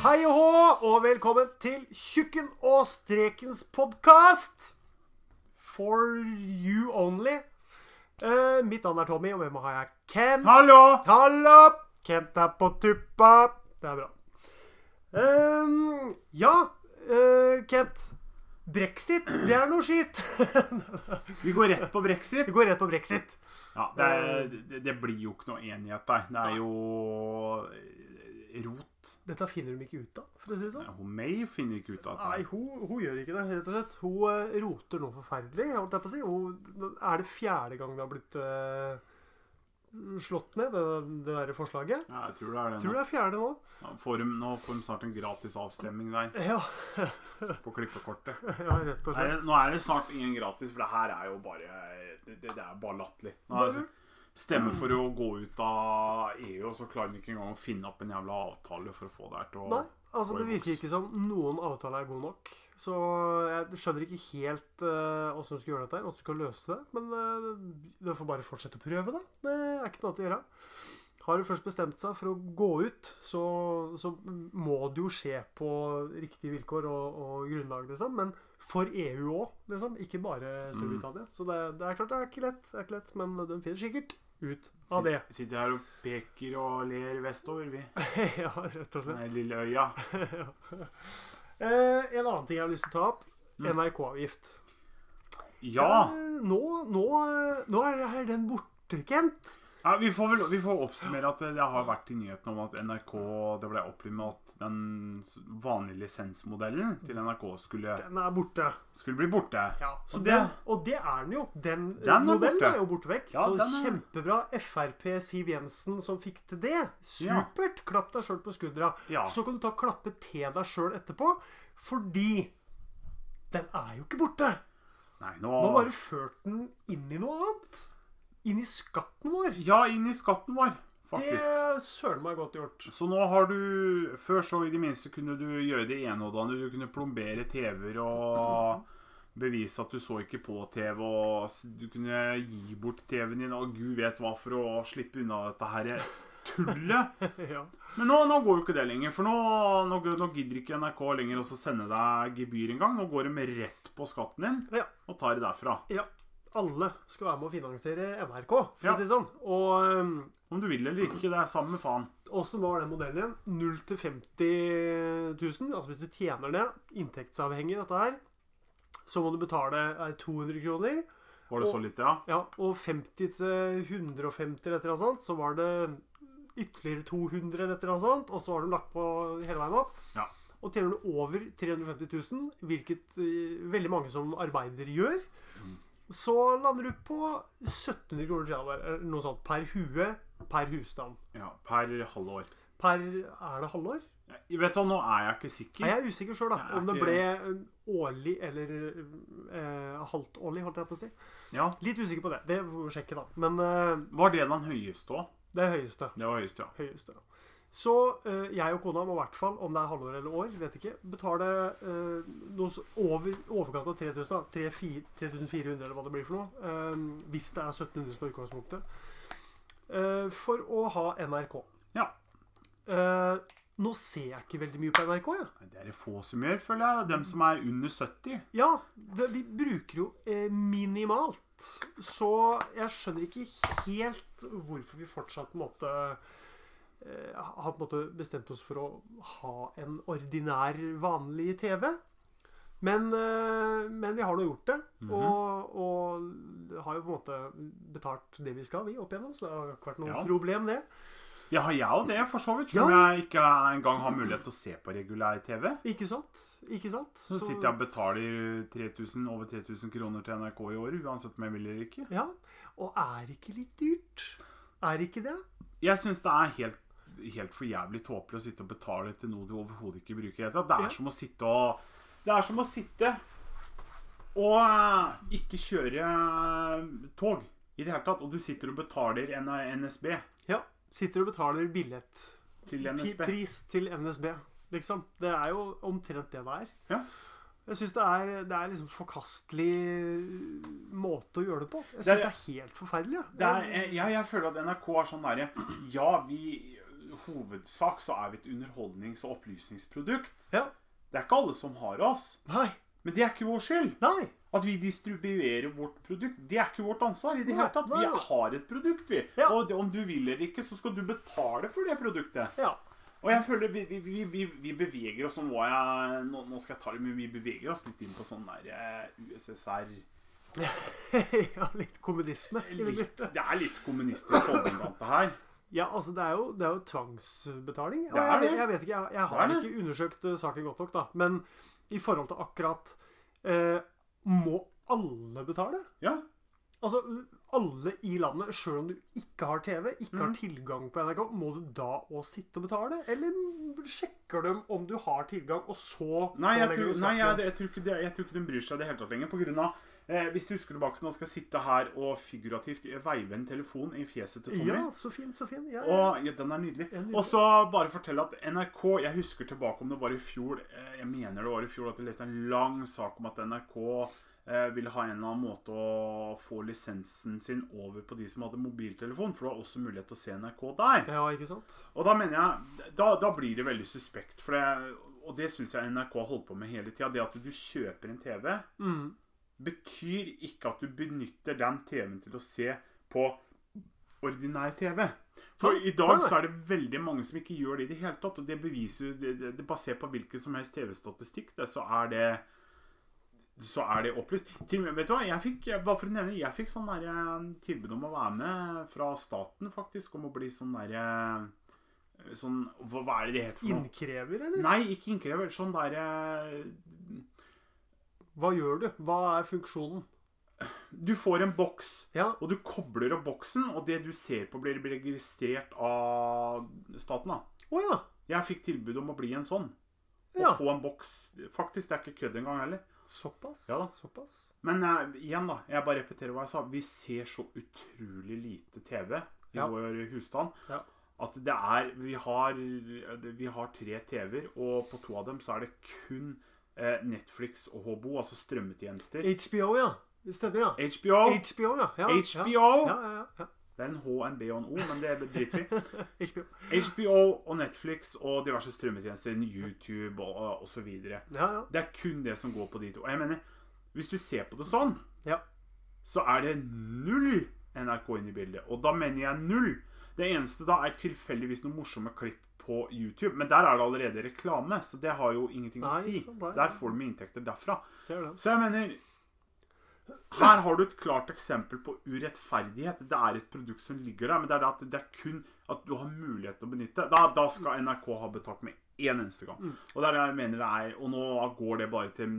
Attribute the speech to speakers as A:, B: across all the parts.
A: Hei og hå, og velkommen til Tjukken og Strekens podkast. For you only. Eh, mitt navn er Tommy, og med meg har jeg Kent.
B: Hallo!
A: Hallo! Kent er på tuppa. Det er bra. Ehm, ja, eh, Kent. Brexit, det er noe skitt.
B: Vi går rett på brexit.
A: Vi går rett på brexit.
B: Ja, det, er, det- det blir jo ikke noe enighet der. Det er jo eh, rot.
A: Dette finner de ikke ut av, for å si det sånn.
B: Hun May finner ikke ut av
A: Nei,
B: det.
A: hun, hun gjør ikke det, rett og slett. Hun eh, roter noe forferdelig, holdt jeg på å si. Hun, er det fjerde gang det har blitt eh, slått ned, det, det der forslaget?
B: Ja, jeg tror det er det.
A: Tror
B: Nå.
A: det er fjerde nå.
B: Ja, Får de, nå får de snart en gratis avstemning der
A: Ja,
B: på klippekortet.
A: ja rett og
B: Nei,
A: slett.
B: nå er det snart ingen gratis, for det her er jo bare Det, det det er bare latterlig. Nå er det- Stemme for å gå ut av EU, og så klarer de ikke engang å finne opp en jævla avtale for å få det her til å
A: Nei, altså
B: gå i
A: det virker
B: boks.
A: ikke som noen avtale er god nok. Så jeg skjønner ikke helt eh, åssen du skal gjøre dette her, åssen du skal løse det. Men eh, du får bare fortsette å prøve, da. Det er ikke noe annet å gjøre. Har du først bestemt seg for å gå ut, så, så må det jo skje på riktige vilkår og, og grunnlag, liksom. Men for EU òg, liksom. Ikke bare Storbritannia. Så det, det er klart det er ikke lett, det er ikke lett men de finner sikkert ut av det.
B: Sitter her og peker og ler vestover, vi.
A: ja, rett og slett.
B: Den lille øya.
A: Eh, en annen ting jeg har lyst til å ta opp. NRK-avgift.
B: Mm. Ja!
A: Eh, nå, nå, eh, nå er det her den borte, Kent.
B: ja vi, får vel, vi får oppsummere at det har vært i nyhetene om at NRK Det ble oppgitt med at den vanlige lisensmodellen til NRK skulle,
A: Den er borte.
B: skulle bli borte.
A: Ja, så
B: Og
A: det,
B: det-
A: og det er den jo. Den, eh,
B: Den er
A: modellen
B: borte.
A: er jo borte vekk.
B: Ja,
A: så
B: den er-
A: kjempebra Frp Siv Jensen som fikk til det. Supert. Klapp deg sjøl på skuldra.
B: Ja.
A: Så kan du ta og klappe til deg sjøl etterpå, fordi den er jo ikke borte.
B: Nei,
A: Nå har
B: nå
A: bare ført den inn i noe annet. Inn i skatten vår.
B: Ja, inn i skatten vår,
A: Det
B: faktisk.
A: er søren meg godt gjort.
B: Så nå har du Før så i det minste kunne du gjøre det ene og det andre. Du kunne plombere TV-er og bevise at du så ikke på TV, og s- du kunne gi bort TV-en din og gud vet hva for å slippe unna dette her tullet.
A: Ja.
B: Men nå, nå går jo ikke det lenger, for nå, nå, nå gidder ikke NRK lenger også sende deg gebyr engang. Nå går de rett på skatten din
A: Ja.
B: og tar det derfra.
A: ja. Alle skal være med å finansiere NRK, for
B: Ja.
A: å si det sånn. Og um,
B: Om du vil eller ikke, det er samme faen.
A: åssen var den modellen? 0 til 50 000. Altså hvis du tjener det, inntektsavhengig dette her, så må du betale eh, 200 kroner.
B: Var det så lite, ja?
A: Ja, og 50 til 150 eller et eller annet sånt, så var det ytterligere 200 eller et eller annet sånt, og så har de lagt på hele veien opp.
B: Ja.
A: Og tjener du over 350 000, hvilket eh, veldig mange som arbeider gjør,
B: Mm.
A: så lander du på 1700 kroner tror jeg det var, eller noe sånt, per hue, per husstand.
B: ja per halvår.
A: Per, er det halvår?
B: Jeg vet du hva, nå er jeg ikke sikker.
A: Nei, jeg er usikker sjøl, da.
B: Jeg er
A: Om det
B: ikke-
A: ble eh, årlig eller eh, halvt årlig, holdt jeg på å si.
B: Ja,
A: Litt usikker på det. Det får vi sjekke, da. Men eh,
B: Var det den høyeste òg?
A: det er høyeste.
B: Det var høyeste, ja.
A: høyeste. Så eh, jeg og kona må i hvert fall, om det er halvår eller år, vet ikke, betale eh, noe så- over overkant av 3000, da. 3400 3400 eller hva det blir for noe. eh, hvis det er 1700 som er utgangspunktet. eh, for å ha NRK.
B: ja.
A: Eh, nå ser jeg ikke veldig mye på NRK, jeg.
B: Nei, Det er det få som gjør, føler jeg. Dem som er under 70.
A: Ja, det, vi bruker jo eh, minimalt. Så jeg skjønner ikke helt hvorfor vi fortsatt på en måte eh, har på en måte bestemt oss for å ha en ordinær, vanlig TV. Men, eh, men vi har nå gjort det,
B: Mhm.
A: og, og har jo på en måte betalt det vi skal, vi, opp igjennom. Så det har ikke vært noe
B: Ja.
A: problem, det.
B: Ja, har jeg jo det, for så vidt.
A: Ja.
B: Selv om jeg ikke engang har mulighet til å se på regulær TV.
A: Ikke sant? Ikke sant?
B: Så sitter jeg og betaler 3000, over 3000 kroner til NRK i året, uansett om jeg vil eller ikke.
A: Ja. Og er det ikke litt dyrt? Er det ikke det?
B: Jeg syns det er helt, helt for jævlig tåpelig å sitte og betale til noe du overhodet ikke bruker. i det hele tatt. Det
A: Ja.
B: er som å sitte og Det er som å sitte og eh, ikke kjøre eh, tog i det hele tatt. Og du sitter og betaler N NSB
A: Ja. Sitter og betaler billett.
B: til
A: Pi-
B: NSB.
A: Pris til NSB, liksom. Det er jo omtrent det det er.
B: Ja.
A: Jeg syns det er, det er liksom forkastelig øh, måte å gjøre det på. Jeg syns
B: Det er-
A: det, er helt forferdelig. ja.
B: Det er, eh, ja, jeg føler at NRK er sånn derre Ja, vi hovedsak så er vi et underholdnings- og opplysningsprodukt.
A: Ja.
B: Det er ikke alle som har oss.
A: Nei.
B: Men det er ikke vår skyld.
A: Nei.
B: At vi distribuerer vårt produkt, det er ikke vårt ansvar. i det hele tatt.
A: Nei,
B: Vi
A: nei.
B: har et produkt, vi.
A: Ja.
B: Og det, om du vil eller ikke, så skal du betale for det produktet.
A: Ja.
B: Og jeg føler vi, vi, vi, vi, vi beveger oss Nå, må jeg, nå, nå skal jeg ta det, men vi beveger oss litt inn på sånn der eh, USSR
A: ja, litt kommunisme. i det
B: litt,
A: bildet.
B: Det er litt kommunistisk holdning blant det her.
A: Ja, altså det er jo, det er jo tvangsbetaling. Og
B: Det er
A: jeg,
B: det.
A: vet- jeg vet ikke, jeg, jeg har
B: Det er det.
A: ikke undersøkt eh, saken godt nok, da. Men i forhold til akkurat eh, Må alle betale?
B: Ja,
A: Altså, alle i landet, sjøl om du ikke har TV, ikke har
B: Mhm.
A: tilgang på NRK, må du da òg sitte og betale? Eller sjekker de om du har tilgang, og så
B: Nei, jeg
A: pålegger
B: tror,
A: du
B: nei
A: skatt
B: jeg,
A: igjen?
B: jeg, tror ikke, det- jeg tror ikke de bryr seg i det hele tatt lenger. På grunn av, eh, hvis du husker tilbake nå, skal jeg sitte her og figurativt veive en telefon i fjeset til Tommy.
A: Ja, så fin, så fin. Ja, ja.
B: Og, ja, den er nydelig.
A: Ja, nydelig.
B: Og så bare fortelle at NRK Jeg husker tilbake om det var i fjor eh, Jeg mener det var i fjor at jeg leste en lang sak om at NRK eh, ville ha en eller annen måte å få lisensen sin over på de som hadde mobiltelefon, for du har også mulighet til å se NRK der.
A: ja, ikke sant?
B: Og da mener jeg Da, da blir det veldig suspekt, for det, og det syns jeg NRK har holdt på med hele tida. Det at du kjøper en TV,
A: Mm.
B: betyr ikke at du benytter den TV-en til å se på ordinær TV. For
A: Nei,
B: i dag
A: nei.
B: så er det veldig mange som ikke gjør det i det hele tatt. Og det beviser jo det, det, det Basert på hvilken som helst TV-statistikk, det, så er det så er det opplyst. Til og med, vet du hva, jeg fikk, bare for å nevne, jeg fikk sånn der, eh, tilbud om å være med fra staten, faktisk, om å bli sånn derre Sånn Hva hva er det det heter for noe?
A: Innkrever, eller?
B: Nei, ikke innkrever. Sånn derre
A: Hva gjør du? Hva er funksjonen?
B: Du får en boks.
A: Ja,
B: Og du kobler opp boksen, og det du ser på, blir blir registrert av staten. da.
A: Å ja.
B: Jeg fikk tilbud om å bli en sånn. Å
A: ja.
B: få en boks. Faktisk, det er ikke kødd engang heller.
A: Såpass.
B: Ja da.
A: Såpass.
B: Men eh, igjen, da. Jeg bare repeterer hva jeg sa. Vi ser så utrolig lite TV i
A: Ja.
B: vår husstand.
A: Ja.
B: At det er Vi har, vi har tre TV-er, og på to av dem så er det kun eh, Netflix og HBO, altså strømmetjenester.
A: HBO, ja. Det stemmer, ja.
B: HBO.
A: HBO, ja. ja Ja.
B: HBO.
A: Ja, ja, ja,
B: Det er en H, en B og en O, men det driter vi i.
A: ja. HBO.
B: HBO og Netflix og diverse strømmetjenester, YouTube og osv. Det
A: Ja, ja.
B: er kun det som går på de to. Og jeg mener, hvis du ser på det sånn,
A: Ja.
B: så er det null NRK inn i bildet. Og da mener jeg null. Det eneste da er tilfeldigvis noen morsomme klipp på YouTube. Men der er det allerede reklame, så det har jo ingenting å
A: Nei,
B: si.
A: så bare-
B: Der får de inntekter derfra.
A: Ser den.
B: Så jeg mener Her har du et klart eksempel på urettferdighet. Det er et produkt som ligger der, men det er det at det er kun at du har mulighet til å benytte. Da, da skal NRK ha betalt med én eneste gang. Og det er det jeg mener det er. Og nå går det bare til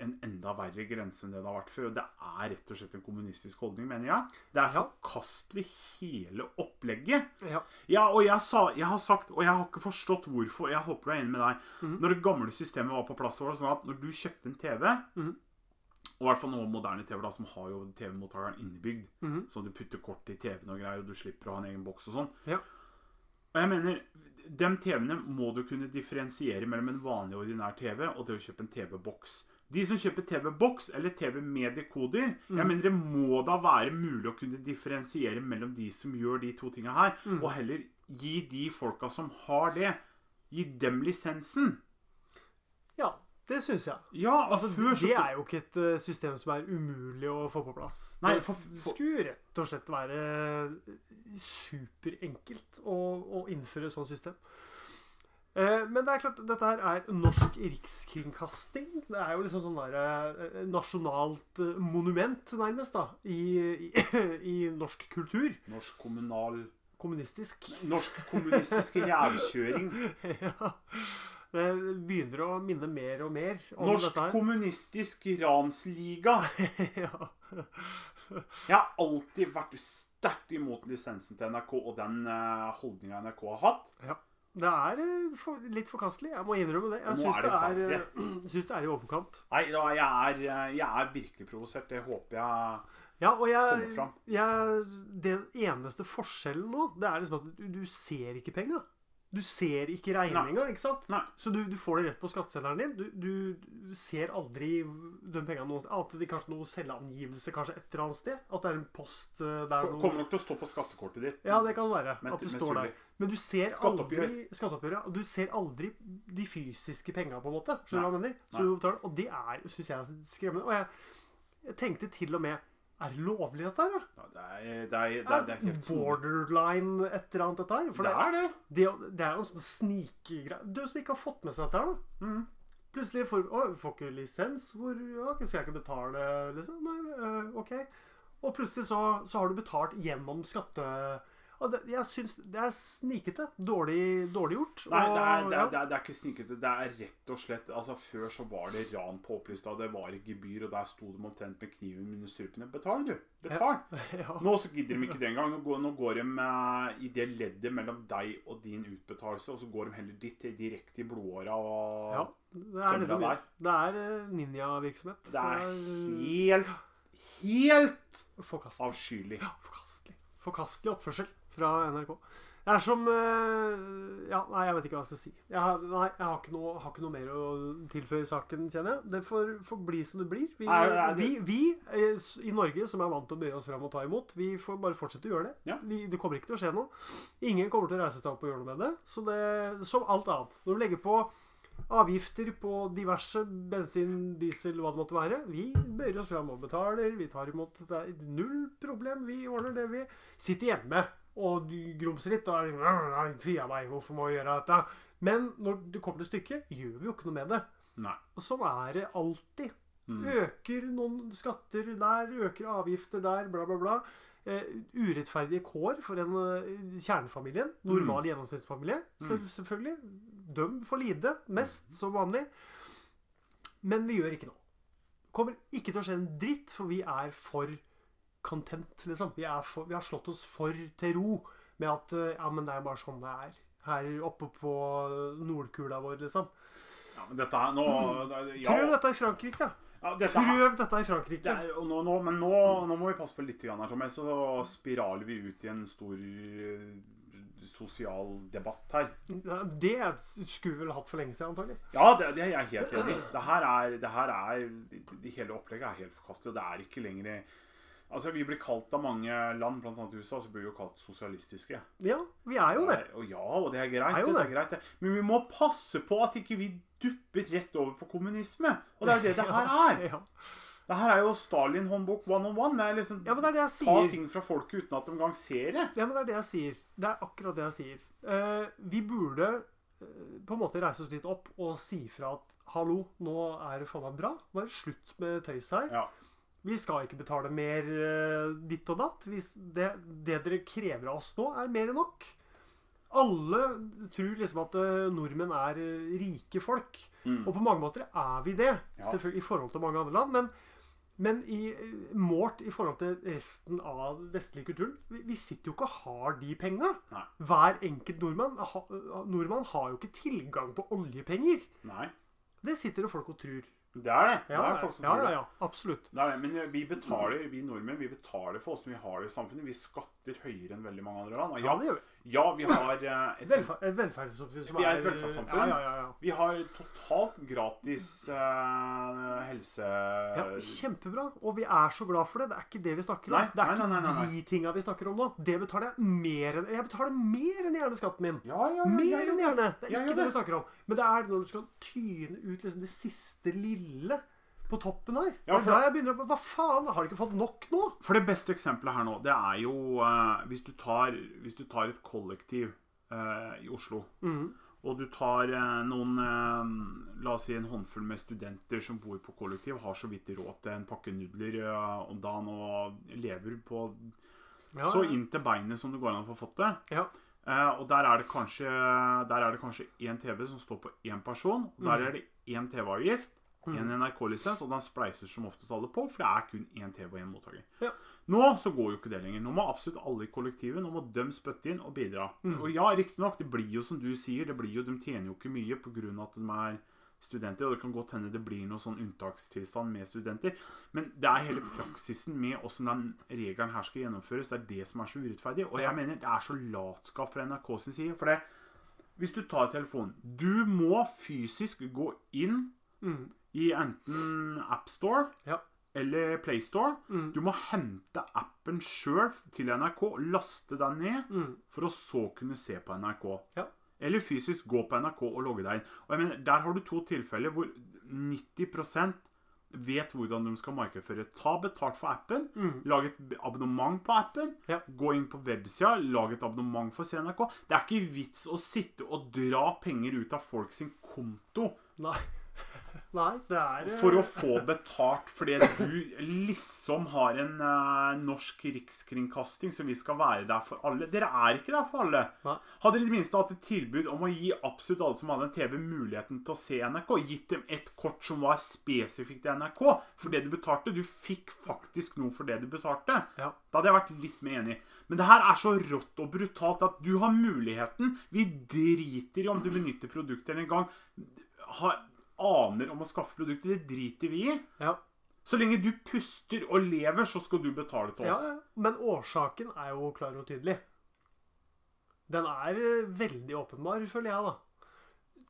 B: en enda verre grense enn det det har vært før. Og det er rett og slett en kommunistisk holdning, mener jeg. Det er
A: Ja.
B: forkastelig, hele opplegget.
A: Ja.
B: Ja, og jeg, sa, jeg har sagt, og jeg har ikke forstått hvorfor, jeg håper du er enig med deg.
A: Mhm.
B: Når det gamle systemet var på plass, så var det sånn at når du kjøpte en TV,
A: Mhm.
B: og i hvert fall nå moderne TV da, som har jo TV-mottakeren innebygd,
A: Mhm.
B: så du putter kort i TV-en og greier, og du slipper å ha en egen boks og sånn.
A: Ja.
B: Og jeg mener, de TV-ene må du kunne differensiere mellom en vanlig ordinær TV og det å kjøpe en TV-boks. De som kjøper TV-boks eller TV med dekoder,
A: Mm.
B: jeg mener det må da være mulig å kunne differensiere mellom de som gjør de to tinga her,
A: Mm.
B: og heller gi de folka som har det, gi dem lisensen.
A: ja. Det syns jeg.
B: Ja,
A: Altså,
B: altså, før så
A: det er jo ikke et eh, system som er umulig å få på plass.
B: Nei,
A: det
B: for- for-
A: skulle rett og slett være eh, superenkelt å, å innføre et sånt system. Eh, Men det er klart, dette her er norsk rikskringkasting. Det er jo liksom sånn der eh, nasjonalt eh, monument, nærmest, da, i, i, i norsk kultur.
B: Norsk kommunal
A: Kommunistisk.
B: Norsk kommunistisk rævkjøring.
A: ja. Det begynner å minne mer og mer om
B: Norsk
A: dette her.
B: kommunistisk ransliga.
A: ja.
B: Jeg har alltid vært sterkt imot lisensen til NRK og den uh, holdninga NRK har hatt.
A: Det er eh, for, litt forkastelig. Jeg må innrømme det.
B: Nå
A: Jeg syns
B: er
A: det,
B: det
A: er, eh, syns det er i overkant.
B: Nei, da, jeg, er, eh, jeg er virkelig provosert. Det håper jeg
A: Ja, og
B: Kommer
A: jeg,
B: fram.
A: jeg Den eneste forskjellen nå, det er liksom at du, du ser ikke penga. Du ser ikke regninga, ikke sant?
B: Nei.
A: Så du, du får det rett på skatteseddelen din. Du, du ser aldri de pengene noen sted. Annet enn det kanskje noe selvangivelse kanskje et eller annet sted. At det er en post eh, der
B: Kommer nok til å stå på skattekortet ditt.
A: Ja, det kan være.
B: Men-
A: at det
B: men
A: står
B: selvfølgelig.
A: der. Men du ser
B: Skatteoppgjør.
A: aldri skatteoppgjøret. og Du ser aldri de fysiske penga, på en måte. Skjønner du hva jeg mener? Så
B: Nei.
A: du betaler, og det er, syns jeg er skremmende. Og jeg, jeg tenkte til og med Er det lovlig, dette her?
B: Ja, det, er, det, er, det,
A: Ja?
B: er, det er helt
A: borderline et eller annet, dette her? For
B: Det
A: det,
B: er det.
A: det, det er jo en sånn snikegreie Du som ikke har fått med seg dette her, da.
B: Mhm.
A: Plutselig får Å, vi får ikke lisens. Hvor ja, Skal jeg ikke betale, liksom? Nei, øh, OK. Og plutselig så, så har du betalt gjennom skatte... Ja, det, jeg syns det er snikete. Dårlig, dårlig gjort.
B: Nei, det er,
A: og-
B: det,
A: ja.
B: er, det, er, det er ikke snikete. Det er rett og slett altså Før så var det ran på Opplystad. Det var et gebyr, og der sto de omtrent med kniven under strupene. Betal, du. Betal.
A: Ja.
B: Nå så gidder de ikke det engang. Nå går, nå går de eh, i det leddet mellom deg og din utbetalelse, og så går de heller ditt direkte i blodåra. Og
A: ja, det er det de
B: Tømmer
A: gjør.
B: der.
A: Det er øh, ninjavirksomhet.
B: Det er
A: Det
B: helt, helt
A: er forkastelig.
B: avskyelig.
A: Ja, forkastelig. Forkastelig oppførsel fra NRK. Det er som eh, Ja, nei, jeg vet ikke hva jeg skal si. Jeg har, nei, jeg har, ikke, noe, har ikke noe mer å tilføye saken, kjenner jeg. Det får, får bli som det blir. Vi,
B: Nei, nei,
A: vi,
B: det-
A: vi eh, s- i Norge, som er vant til å bøye oss fram og ta imot, vi får bare fortsette å gjøre det.
B: Ja.
A: Vi, det kommer ikke til å skje noe. Ingen kommer til å reise seg opp og gjøre noe med det. Så det som alt annet. Når du legger på avgifter på diverse bensin, diesel, hva det måtte være. Vi bøyer oss fram og betaler. Vi tar imot. Det er null problem. Vi ordner det, vi. Sitter hjemme og du grumser litt. og er, sånn, «Nei, Fia meg, hvorfor må vi gjøre dette? Men når det kommer til stykket, gjør vi jo ikke noe med det.
B: Nei.
A: Og sånn er det alltid.
B: Mm.
A: Øker noen skatter der, øker avgifter der, bla, bla, bla. Eh, urettferdige kår for en eh, kjernefamilien.
B: Mm.
A: Normal gjennomsnittsfamilie, selv, selvfølgelig. Døm for lite, mest
B: Mm.
A: som vanlig. Men vi gjør ikke noe. Kommer ikke til å skje en dritt, for vi er for content, liksom. Vi, er for, vi har slått oss for til ro med at eh, ja, men det er bare sånn det er. Her oppe på eh, nordkula vår, liksom.
B: Ja, men dette her nå ja,
A: Mm. Prøv dette i Frankrike, da.
B: ja, dette her
A: Prøv dette i
B: det
A: Frankrike.
B: er, og nå, nå, men nå, nå må vi passe på litt, grann her, Tommy, så spiraler vi ut i en stor eh, sosial debatt her.
A: Ja, Det skulle vi vel hatt for lenge siden, antagelig.
B: Ja, det, det er jeg helt enig i. Det her er, det her er det Hele opplegget er helt forkastelig. og Det er ikke lenger Altså, Vi blir kalt av mange land, bl.a. USA, så blir vi jo kalt sosialistiske.
A: Ja, vi er jo det.
B: Og ja, og det er greit.
A: Er jo
B: det.
A: det.
B: er greit det. Men vi må passe på at ikke vi dupper rett over på kommunisme. Og det er jo det det her er.
A: Ja,
B: Det her er jo Stalin-håndbok one on one. Det er liksom
A: ja men det er det jeg
B: Ta
A: sier.
B: ting fra folket uten at de engang ser det.
A: Ja, men det er det jeg sier. Det er akkurat det jeg sier. Eh, vi burde eh, på en måte reise oss litt opp og si fra at hallo, nå er det faen meg bra. Nå er det slutt med tøys her.
B: Ja.
A: Vi skal ikke betale mer eh, ditt og datt. Hvis det, det dere krever av oss nå, er mer enn nok. Alle tror liksom at eh, nordmenn er eh, rike folk.
B: Mm.
A: Og på mange måter er vi det,
B: Ja.
A: selvfølgelig i forhold til mange andre land. Men, men i, målt i forhold til resten av den vestlige kulturen Vi, vi sitter jo ikke og har de penga.
B: Nei.
A: Hver enkelt nordmann, ha, nordmann har jo ikke tilgang på oljepenger.
B: Nei.
A: Det sitter det folk og tror.
B: Det er det.
A: Ja,
B: det er folk som
A: ja,
B: tror
A: ja,
B: det.
A: ja, absolutt.
B: Det er det. Men eh, vi betaler, vi nordmenn vi betaler for åssen vi har det i samfunnet. Vi skatter høyere enn veldig mange andre land. Og
A: Ja,
B: ja,
A: det gjør vi.
B: ja vi har eh, et
A: Velfer, et velferdssamfunn som
B: Vi
A: er
B: er et velferdssamfunn.
A: Ja, ja, ja, ja.
B: vi har totalt gratis eh, helse...
A: Ja, Kjempebra. Og vi er så glad for det. Det er ikke det vi snakker om.
B: Eh, Nei,
A: det er
B: nei,
A: ikke
B: nei, nei, nei,
A: de tinga vi snakker om nå. Det betaler jeg mer enn Jeg betaler mer enn gjerne skatten min.
B: ja, ja, ja, ja,
A: Mer
B: ja.
A: enn gjerne. Det er ikke
B: Ja, ja,
A: det
B: det.
A: vi snakker om. Men det er når du skal tyne ut liksom det siste lille på toppen her.
B: Ja,
A: det
B: for-
A: er da jeg begynner å Hva faen? Har de ikke fått nok nå?
B: For det beste eksempelet her nå, det er jo eh, hvis, du tar, hvis du tar et kollektiv eh, i Oslo,
A: Mm.
B: og du tar eh, noen eh, La oss si en håndfull med studenter som bor på kollektiv, har så vidt råd til en pakke nudler eh, om dagen og lever på
A: Ja,
B: så inn til beinet som det går an å få fått det.
A: Ja.
B: Eh, og der er det kanskje Der er det kanskje én TV som står på én person. Og
A: Mm.
B: der er det én TV-avgift, én NRK-lisens, og den spleises som oftest alle på, for det er kun én TV og én mottaker.
A: Ja.
B: Nå så går jo ikke det lenger. Nå må absolutt alle i kollektivet Nå må de spytte inn og bidra. Og ja, riktignok, det blir jo som du sier, det blir jo, de tjener jo ikke mye pga. at de er studenter, og det kan godt hende det blir noe sånn unntakstilstand med studenter. Men det er hele praksisen med åssen den regelen her skal gjennomføres, det er det som er så urettferdig. Og jeg mener det er så latskap fra NRK sin side. For det, Hvis du tar telefonen Du må fysisk gå inn
A: Mm.
B: i enten AppStore
A: Ja.
B: eller PlayStore.
A: Mm.
B: Du må hente appen sjøl til NRK, laste den ned,
A: Mm.
B: for å så kunne se på NRK.
A: Ja.
B: Eller fysisk gå på NRK og logge deg inn. Og jeg mener, Der har du to tilfeller hvor 90 vet hvordan de skal markedsføre. Ta betalt for appen,
A: Mm.
B: lag et abonnement på appen,
A: Ja.
B: gå inn på websida, lag et abonnement for CNRK. Det er ikke vits å sitte og dra penger ut av folk sin konto
A: Nei. Nei, det er eh,
B: for å få betalt fordi du liksom har en eh, norsk rikskringkasting, så vi skal være der for alle. Dere er ikke der for alle.
A: Nei.
B: Hadde dere i det minste hatt et tilbud om å gi absolutt alle som hadde en TV, muligheten til å se NRK, gitt dem et kort som var spesifikt til NRK for det du betalte Du fikk faktisk noe for det du betalte.
A: Ja.
B: Da hadde jeg vært litt mer enig. Men det her er så rått og brutalt at du har muligheten. Vi driter i om du benytter produktet eller en gang. Har, aner om å skaffe produktet. Det driter vi i.
A: Ja.
B: Så lenge du puster og lever, så skal du betale til
A: Ja,
B: oss.
A: ja. men årsaken er jo klar og tydelig. Den er eh, veldig åpenbar, føler jeg, da.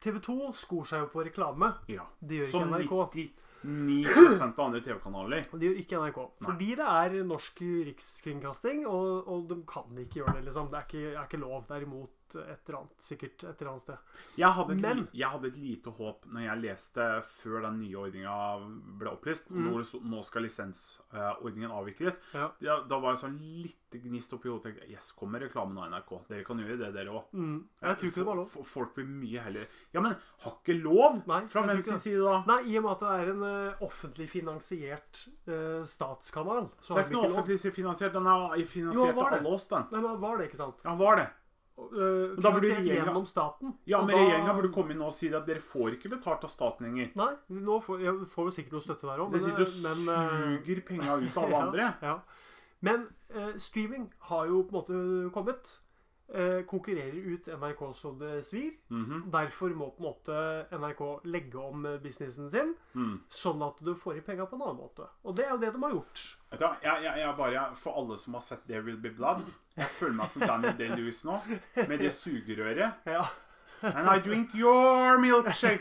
A: TV 2 skor seg jo på reklame.
B: Ja.
A: Det gjør ikke
B: Som
A: NRK.
B: 99 av andre TV-kanaler.
A: Og Det gjør ikke NRK. Fordi det er norsk rikskringkasting, og, og de kan ikke gjøre det, liksom. Det er ikke, er ikke lov. Det er imot et eller annet, sikkert et eller annet sted.
B: Jeg hadde, et,
A: Men-
B: li- jeg hadde et lite håp når jeg leste før den nye ordninga ble opplyst. Hvor det sto nå skal lisensordningen avvikles.
A: Mm. Ja.
B: Ja, da var jeg sånn litt gnist oppi hodet. tenkte jeg, Yes, kommer reklamen av NRK. Dere kan gjøre det, dere òg.
A: Mm. Jeg tror ikke det var lov.
B: Folk blir mye heller Ja, men har ikke lov?
A: Nei,
B: Fra
A: jeg tror
B: hvem
A: ikke
B: sin
A: det.
B: side da?
A: Nei, i og med at det er en eh, offentlig finansiert eh, statskanal, så
B: Det
A: har de
B: er ikke
A: ikke
B: noe
A: lov.
B: offentlig finansiert. Den er
A: Jo,
B: finansiert
A: han var
B: av
A: det.
B: alle oss, den.
A: Nei, men var det ikke sant?
B: Ja, han var det.
A: Eh,
B: da burde
A: finansiert
B: regjeringen-
A: gjennom staten.
B: Ja,
A: og
B: men
A: da-
B: regjeringa burde komme inn og si at dere får ikke betalt av staten lenger.
A: Nei, nå får, jeg får jo sikkert noe støtte der eh, òg,
B: Dere sitter og suger penga ut av alle andre.
A: Ja, ja. Men eh, streaming har jo på en måte kommet. Eh, konkurrerer ut NRK så det svir.
B: Mhm.
A: Derfor må på en måte NRK legge om eh, businessen sin,
B: Mm.
A: sånn at du får i penga på en annen måte. Og det er jo det de har gjort.
B: Vet du hva, jeg, jeg, jeg bare, For alle som har sett There Will Be Blood Jeg føler meg som Daniel Day-Lewis nå, med det sugerøret.
A: Ja.
B: And I drink your milkshake.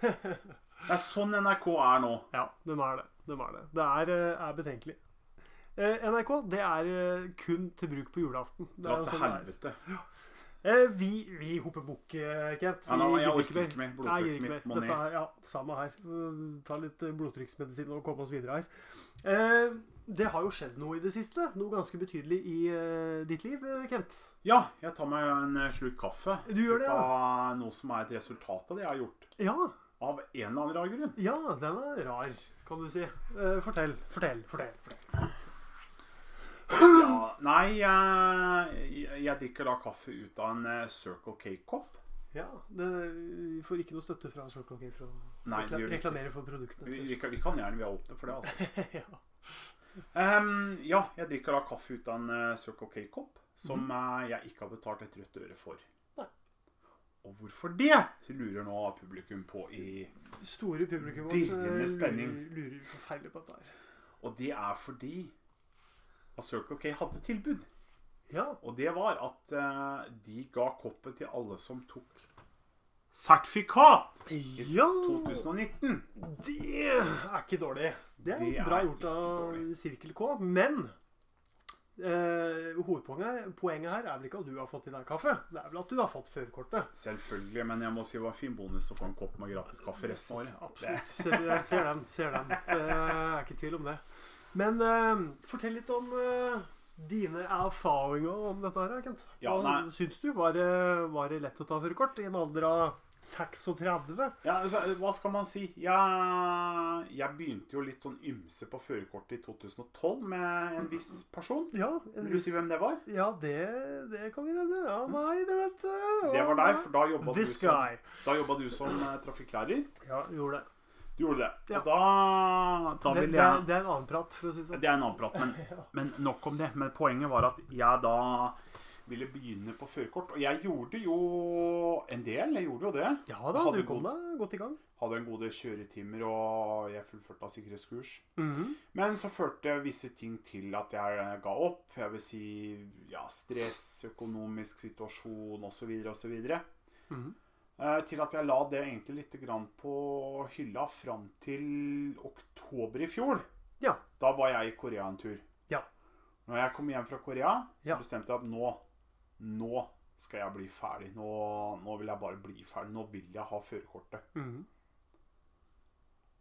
B: Det er sånn NRK er nå.
A: Ja, de er det. De er det. Det er, eh, er betenkelig. Eh, NRK det er eh, kun til bruk på julaften. Det
B: Dra
A: er jo
B: til
A: sånn det er.
B: helvete.
A: Eh, vi vi hopper bukk, eh, Kent.
B: Ja, nå,
A: Vi
B: jeg
A: gidder
B: orker ikke mer.
A: Nei, jeg gidder
B: Blodtrykket
A: ikke
B: mitt må
A: mer. Dette er, ja, samme her. Eh, Ta litt eh, blodtrykksmedisin og komme oss videre her. Eh, det har jo skjedd noe i det siste. Noe ganske betydelig i eh, ditt liv, eh, Kent.
B: Ja, jeg tar meg en eh, slurk kaffe.
A: Du gjør det,
B: ja. Noe som er et resultat av det jeg har gjort.
A: Ja,
B: Av en eller annen rar grunn.
A: ja, den er rar, kan du si. Eh, fortell, fortell, fortell. fortell.
B: Ja, nei, jeg, jeg- jeg drikker da kaffe ut av en eh, Circle K-kopp.
A: Ja, det, vi får ikke noe støtte fra Circle K for å
B: Nei, det
A: rekla-
B: gjør vi ikke.
A: reklamere for produktene.
B: Vi,
A: til
B: vi, kan- vi kan gjerne vi har åpne for det, altså.
A: Circle K. ja.
B: Ehm, ja, jeg drikker da kaffe ut av en eh, Circle K-kopp som eh, jeg ikke har betalt et rødt øre for.
A: Mhm. Nei.
B: Og hvorfor det, lurer nå publikum på i
A: Store publikum vårt,
B: Dirrende
A: eh,
B: spenning.
A: lurer, lurer forferdelig på dette her.
B: Og det er fordi at Circle K hadde et tilbud.
A: Ja,
B: Og det var at eh, de ga koppet til alle som tok sertifikat
A: ja
B: 2019.
A: det er ikke dårlig. Det er,
B: Det er
A: bra gjort
B: ikke
A: av
B: dårlig.
A: Sirkel K, men eh, hovedpoenget poenget her er vel ikke at du har fått i deg kaffe, det er vel at du har fått førerkortet.
B: Selvfølgelig, men jeg må si det var en fin bonus å få en kopp med gratis kaffe resten av året.
A: Absolutt. Ser, jeg ser den, ser den. Det er ikke tvil om det. Men eh, fortell litt om eh, dine erfaringer om dette her, Kent.
B: Ja,
A: Hva
B: nei.
A: syns du? Var det, var det lett å ta førerkort i en alder av 36?
B: Ja, altså, hva skal man si? Jeg, jeg begynte jo litt sånn ymse på førerkortet i 2012 med en viss person.
A: Ja, en
B: Vil du si
A: viss-
B: hvem det var?
A: ja det, det kan vi nevne. Ja, meg, det vet du.
B: Det var deg, for da jobba du
A: This
B: som,
A: guy.
B: da jobba du som eh, trafikklærer.
A: Ja, gjorde det.
B: Du gjorde det.
A: Ja.
B: Og da, da
A: Det,
B: ville
A: det,
B: jeg
A: det er en annen prat, for å si det sånn.
B: Det er en annen prat, men, men nok om det. Men poenget var at jeg da ville begynne på førerkort. Og jeg gjorde jo en del. Jeg gjorde jo det.
A: Ja da,
B: Hadde
A: du
B: god-
A: kom deg godt i gang.
B: Hadde en god del kjøretimer, og jeg fullførte av sikkerhetskurs. Men så førte visse ting til at jeg ga opp. Jeg vil si ja, stress, økonomisk situasjon osv. osv.
A: Mhm.
B: Eh, til at jeg la det egentlig litt grann på hylla fram til oktober i fjor.
A: Ja.
B: Da var jeg i Korea en tur.
A: Ja.
B: Når jeg kom hjem fra Korea, så
A: Ja.
B: bestemte jeg at nå Nå skal jeg bli ferdig. Nå, nå vil jeg bare bli ferdig. Nå vil jeg ha førerkortet.
A: Mhm.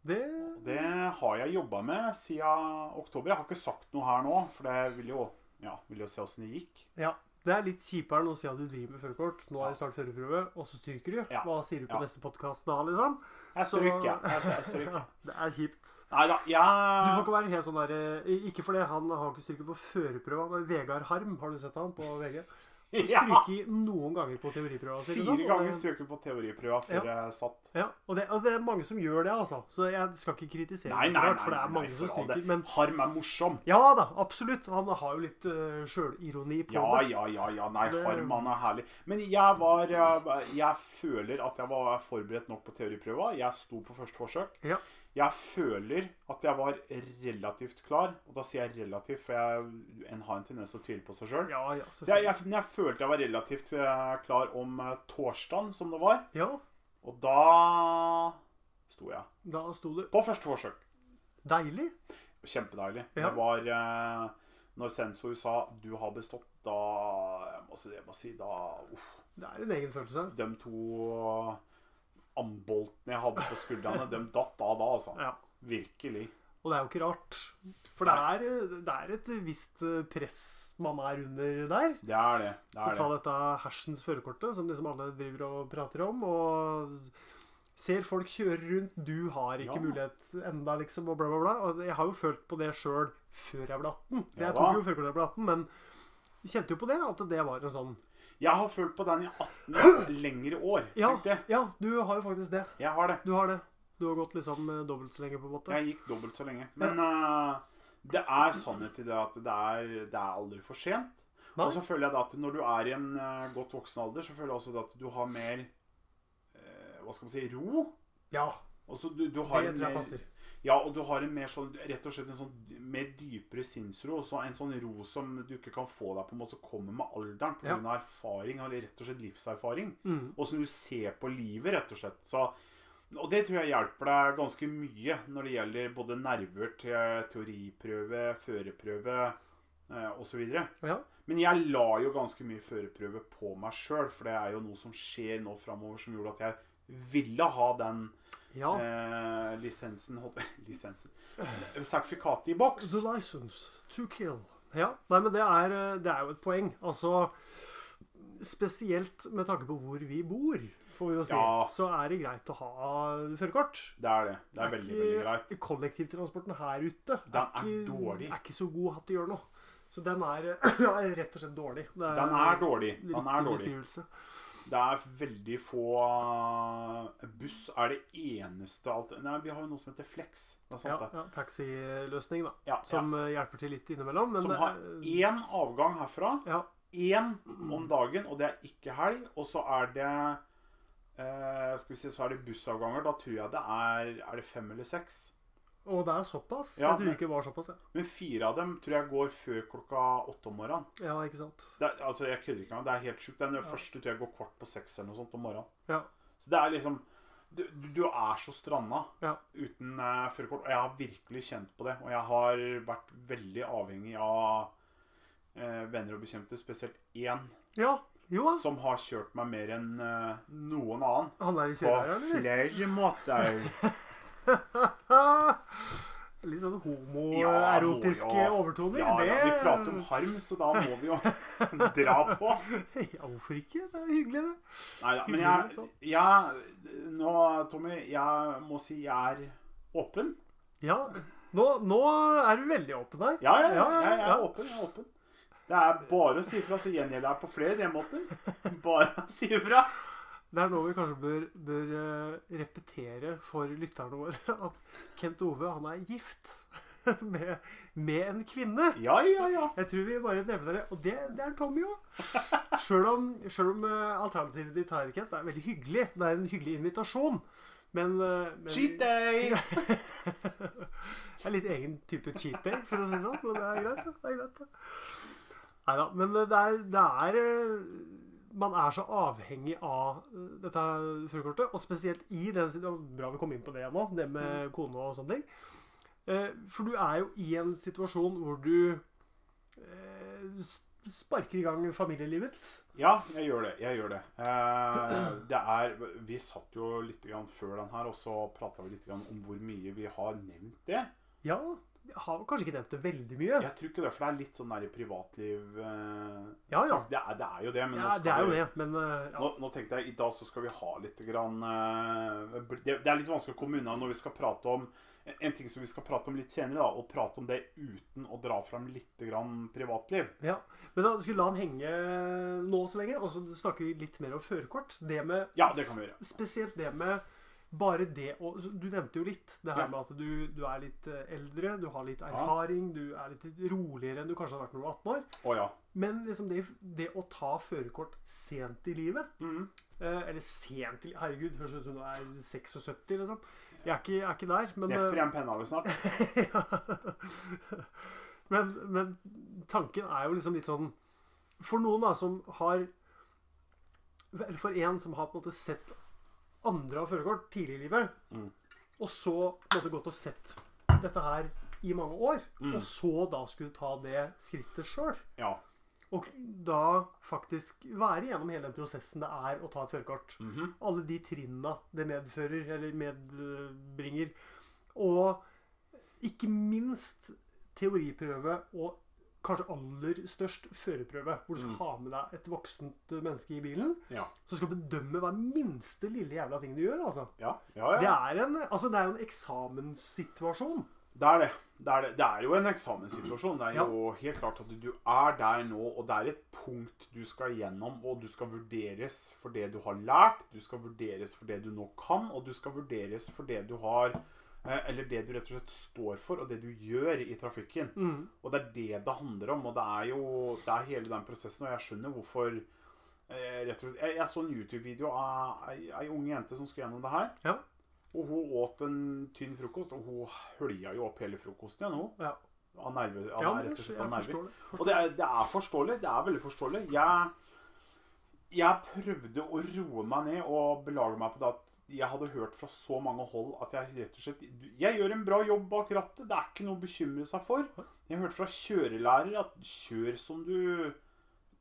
A: Det
B: Det har jeg jobba med siden oktober. Jeg har ikke sagt noe her nå, for det vil jo, ja, vil jo se åssen det gikk.
A: Ja. Det er litt kjipere enn å si at du driver med førerkort. Nå er det snart førerprøve, og så stryker du.
B: Ja.
A: Hva sier du på
B: Ja.
A: neste podkast da, liksom?
B: Jeg
A: Så-
B: stryker, jeg. jeg. jeg stryker.
A: Ja, det er kjipt.
B: Nei da,
A: Du får
B: jeg
A: ikke være helt sånn der eh, Ikke for det, han har ikke stryket på førerprøva. men Vegard Harm, har du sett han på VG?
B: Ja,
A: Stryker noen ganger på teoriprøva. si, ikke sant?
B: Fire
A: Og
B: ganger
A: det-
B: strøket på teoriprøva før jeg satt.
A: Ja, og det, og det er mange som gjør det, altså. Så jeg skal ikke kritisere
B: Nei,
A: det,
B: nei,
A: for
B: nei.
A: det, for det er
B: nei,
A: mange som
B: for all
A: stryker.
B: del.
A: Men
B: Harm er morsom.
A: ja da, absolutt. Han har jo litt uh, sjølironi på
B: Ja,
A: det.
B: ja, ja. ja, Nei,
A: Så det-
B: harm han er herlig. Men jeg var eh, Jeg føler at jeg var forberedt nok på teoriprøva. Jeg sto på første forsøk.
A: Ja.
B: Jeg føler at jeg var relativt klar. Og da sier jeg relativt, for jeg en har en tendens til å tvile på seg sjøl.
A: Ja, ja,
B: Så jeg,
A: selvfølgelig.
B: jeg, men jeg følte jeg var relativt eh, klar om eh, torsdagen, som det var.
A: Ja,
B: Og da sto jeg.
A: da sto det
B: På første forsøk.
A: Deilig.
B: Kjempedeilig.
A: Ja.
B: Det var eh, Når sensor sa 'du har bestått', da jeg må, si- jeg må si da uff,
A: Det er en egen følelse.
B: De to amboltene jeg hadde på skuldrene, de datt av da, altså.
A: Ja.
B: Virkelig.
A: Og det er jo ikke rart. For det er, eh, det er et visst eh, press man er under der.
B: Det er det. det,
A: Så
B: er
A: ta
B: det.
A: dette hersens førerkortet, som liksom alle driver og prater om. Og ser folk kjøre rundt, du har ikke
B: Ja.
A: mulighet enda, liksom, og bla, bla, bla. Og jeg har jo følt på det sjøl før jeg ble 18.
B: Ja
A: Jeg
B: da.
A: tok jo førerkort da jeg ble 18, men jeg kjente jo på det at det var en sånn
B: Jeg har følt på den i 18 lengre år.
A: Ja,
B: Tenk det.
A: ja du har jo faktisk det.
B: Jeg har det.
A: Du har det. Du har gått liksom eh, dobbelt så lenge, på en måte.
B: Jeg gikk dobbelt så lenge. Men eh, det er sannhet i det at det er, det er aldri for sent.
A: Nei.
B: Og så føler jeg da at når du er i en eh, godt voksen alder, så føler jeg også det at du har mer eh, Hva skal man si ro.
A: Ja,
B: Og så du, du har
A: det
B: en eh,
A: tror jeg
B: mer-
A: passer.
B: Ja, og du har en mer sånn, rett og slett en sånn mer dypere sinnsro. Så en sånn ro som du ikke kan få deg på en måte som kommer med alderen
A: Ja.
B: pga. av erfaring, eller rett og slett livserfaring.
A: Mm.
B: Og som du ser på livet, rett og slett. Så, og det tror jeg hjelper deg ganske mye når det gjelder både nerver til teoriprøve, førerprøve eh, osv.
A: Ja.
B: Men jeg la jo ganske mye førerprøve på meg sjøl, for det er jo noe som skjer nå framover som gjorde at jeg ville ha den
A: ja.
B: eh, lisensen, holdt, lisensen Sertifikatet i boks.
A: The license to kill. Ja, nei, men det er, eh, det er jo et poeng. Altså, spesielt med tanke på hvor vi bor, får vi jo si,
B: Ja.
A: så er det greit å ha førerkort.
B: Det er det. Det er veldig, veldig greit.
A: ikke- Kollektivtransporten her ute
B: Den er dårlig.
A: er ikke så god at det gjør noe. Så den er, er rett og slett dårlig. Det
B: Den er dårlig. Den
A: Eh, Riktig
B: er dårlig.
A: beskrivelse.
B: Det er veldig få eh, Buss er det eneste alt Nei, vi har jo noe som heter Flex. Det er
A: Ja,
B: sant, det.
A: ja, Taxiløsning, da.
B: Ja, ja.
A: Som eh, hjelper til litt innimellom. Men eh,
B: Som
A: det
B: har
A: er-
B: én avgang herfra.
A: ja,
B: Én om dagen, og det er ikke helg. Og så er det eh, Skal vi si, så er det bussavganger. Da tror jeg det er Er det fem eller seks?
A: og det er såpass.
B: Ja,
A: jeg tror
B: men-
A: ikke det var såpass. Ja,
B: Men fire av dem tror jeg går før klokka åtte om morgenen.
A: ja ikke sant.
B: Det er, altså, jeg kødder ikke engang. Det er helt sjukt. Den første tror jeg går kvart på seks eller noe sånt om morgenen.
A: Ja.
B: Så det er liksom Du, du du er så stranda
A: Ja.
B: uten eh, førerkort. Og jeg har virkelig kjent på det. Og jeg har vært veldig avhengig av eh, venner og bekjente, spesielt én,
A: Ja, jo da.
B: som har kjørt meg mer enn eh, noen annen.
A: Han er i
B: På
A: kjørelæreren, eller?
B: flere måter.
A: Litt sånn
B: Ja,
A: homoerotiske
B: må jo-
A: overtoner.
B: Ja, ja, vi
A: det-
B: prater om harm, så da må vi jo dra på.
A: Ja, hvorfor ikke? Det er hyggelig, det.
B: Nei da, men
A: Hyggelig,
B: jeg, jeg Nå, Tommy, jeg må si jeg er åpen.
A: Ja, nå, nå er du veldig åpen her.
B: Ja, ja, ja,
A: Ja, ja,
B: jeg, jeg
A: ja.
B: er åpen. jeg er åpen. Det er bare å si ifra, så gjengjelder jeg på flere demåter. Bare å si ifra.
A: Det er nå vi kanskje bør, bør eh, repetere for lytterne våre at Kent Ove han er gift med, med en kvinne.
B: Ja, ja, ja.
A: Jeg tror vi bare nevner det. Og det, det er Tommy òg. Sjøl om, selv om eh, alternativet ditt her, Kent, er veldig hyggelig. Det er en hyggelig invitasjon. Men, eh, men
B: Cheat day!
A: det er litt egen type cheat day, for å si det sånn. Men det er greit. det. det er greit. Nei da. Men det er, det er eh, Man er så avhengig av eh, dette her førerkortet. Og spesielt i den situasjonen Bra vi kom inn på det nå, det
B: Mm.
A: med kone og sånne ting. Eh, For du er jo i en situasjon hvor du eh, s- sparker i gang familielivet.
B: Ja, jeg gjør det. Jeg gjør det. Eh, det er, vi satt jo litt grann før den her, og så prata vi litt grann om hvor mye vi har nevnt det.
A: Ja, jeg har kanskje ikke nevnt det veldig mye.
B: Jeg tror ikke det, for det er litt sånn der i privatliv eh,
A: Ja, ja.
B: sak. Det, er, det er jo det,
A: Ja,
B: men nå,
A: det er
B: skal
A: jo
B: vi,
A: det, men eh, ja.
B: nå, nå tenkte jeg i dag så skal vi ha litt grann eh, det, det er litt vanskelig å komme unna når vi skal prate om en, en ting som vi skal prate om litt senere, da, og prate om det uten å dra fram litt grann privatliv.
A: ja. Men da skulle vi la den henge nå så lenge, og så snakker vi litt mer om førerkort. Det med
B: Ja, det kan vi gjøre.
A: Spesielt det med bare det å så Du nevnte jo litt det her
B: Ja.
A: med at du, du er litt eh, eldre, du har litt erfaring, du er litt roligere enn du kanskje har vært når du var 18 år.
B: Å ja.
A: Men liksom det, det å ta førerkort sent i livet
B: Mhm.
A: eh, Eller sent i Herregud, høres ut som du er 76, liksom. Jeg er ikke, jeg er ikke der, men eh,
B: Nepper igjen penna di snart.
A: Ja. men, men tanken er jo liksom litt sånn For noen da som har vel, For en som har på en måte sett andre ha førerkort tidlig i livet,
B: Mm.
A: og så på en måte gått og sett dette her i mange år,
B: Mm.
A: og så da skulle ta det skrittet sjøl.
B: Ja.
A: Og da faktisk være gjennom hele den prosessen det er å ta et førerkort.
B: Mhm.
A: Alle de trinna det medfører, eller medbringer. Og ikke minst teoriprøve og kanskje aller størst førerprøve, hvor du skal
B: Mm.
A: ha med deg et voksent menneske i bilen
B: Ja.
A: som skal bedømme hver minste lille jævla ting du gjør. altså.
B: Ja, ja,
A: Det
B: ja.
A: er, en, altså, det er jo en eksamenssituasjon.
B: Det er det. Det er, det. det er jo en eksamenssituasjon. Det er
A: Ja.
B: jo helt klart at du er der nå, og det er et punkt du skal gjennom, og du skal vurderes for det du har lært, du skal vurderes for det du nå kan, og du skal vurderes for det du har eh, Eller det du rett og slett står for, og det du gjør i trafikken.
A: Mm.
B: Og det er det det handler om, og det er jo det er hele den prosessen, og jeg skjønner hvorfor eh, rett og slett, jeg, jeg så en YouTube-video av ei, ei ung jente som skulle gjennom det her.
A: Ja.
B: Og hun åt en tynn frokost, og hun hølja jo opp hele frokosten igjen. hun.
A: Ja,
B: Av nerver. Av,
A: ja men
B: rett
A: jeg
B: og slett av nerver.
A: forstår det.
B: Og det er, det er forståelig. Det er veldig forståelig. Jeg, jeg prøvde å roe meg ned og belage meg på det at jeg hadde hørt fra så mange hold at jeg rett og slett du- Jeg gjør en bra jobb bak rattet. Det er ikke noe å bekymre seg for. Jeg hørte fra kjørelærer at kjør som du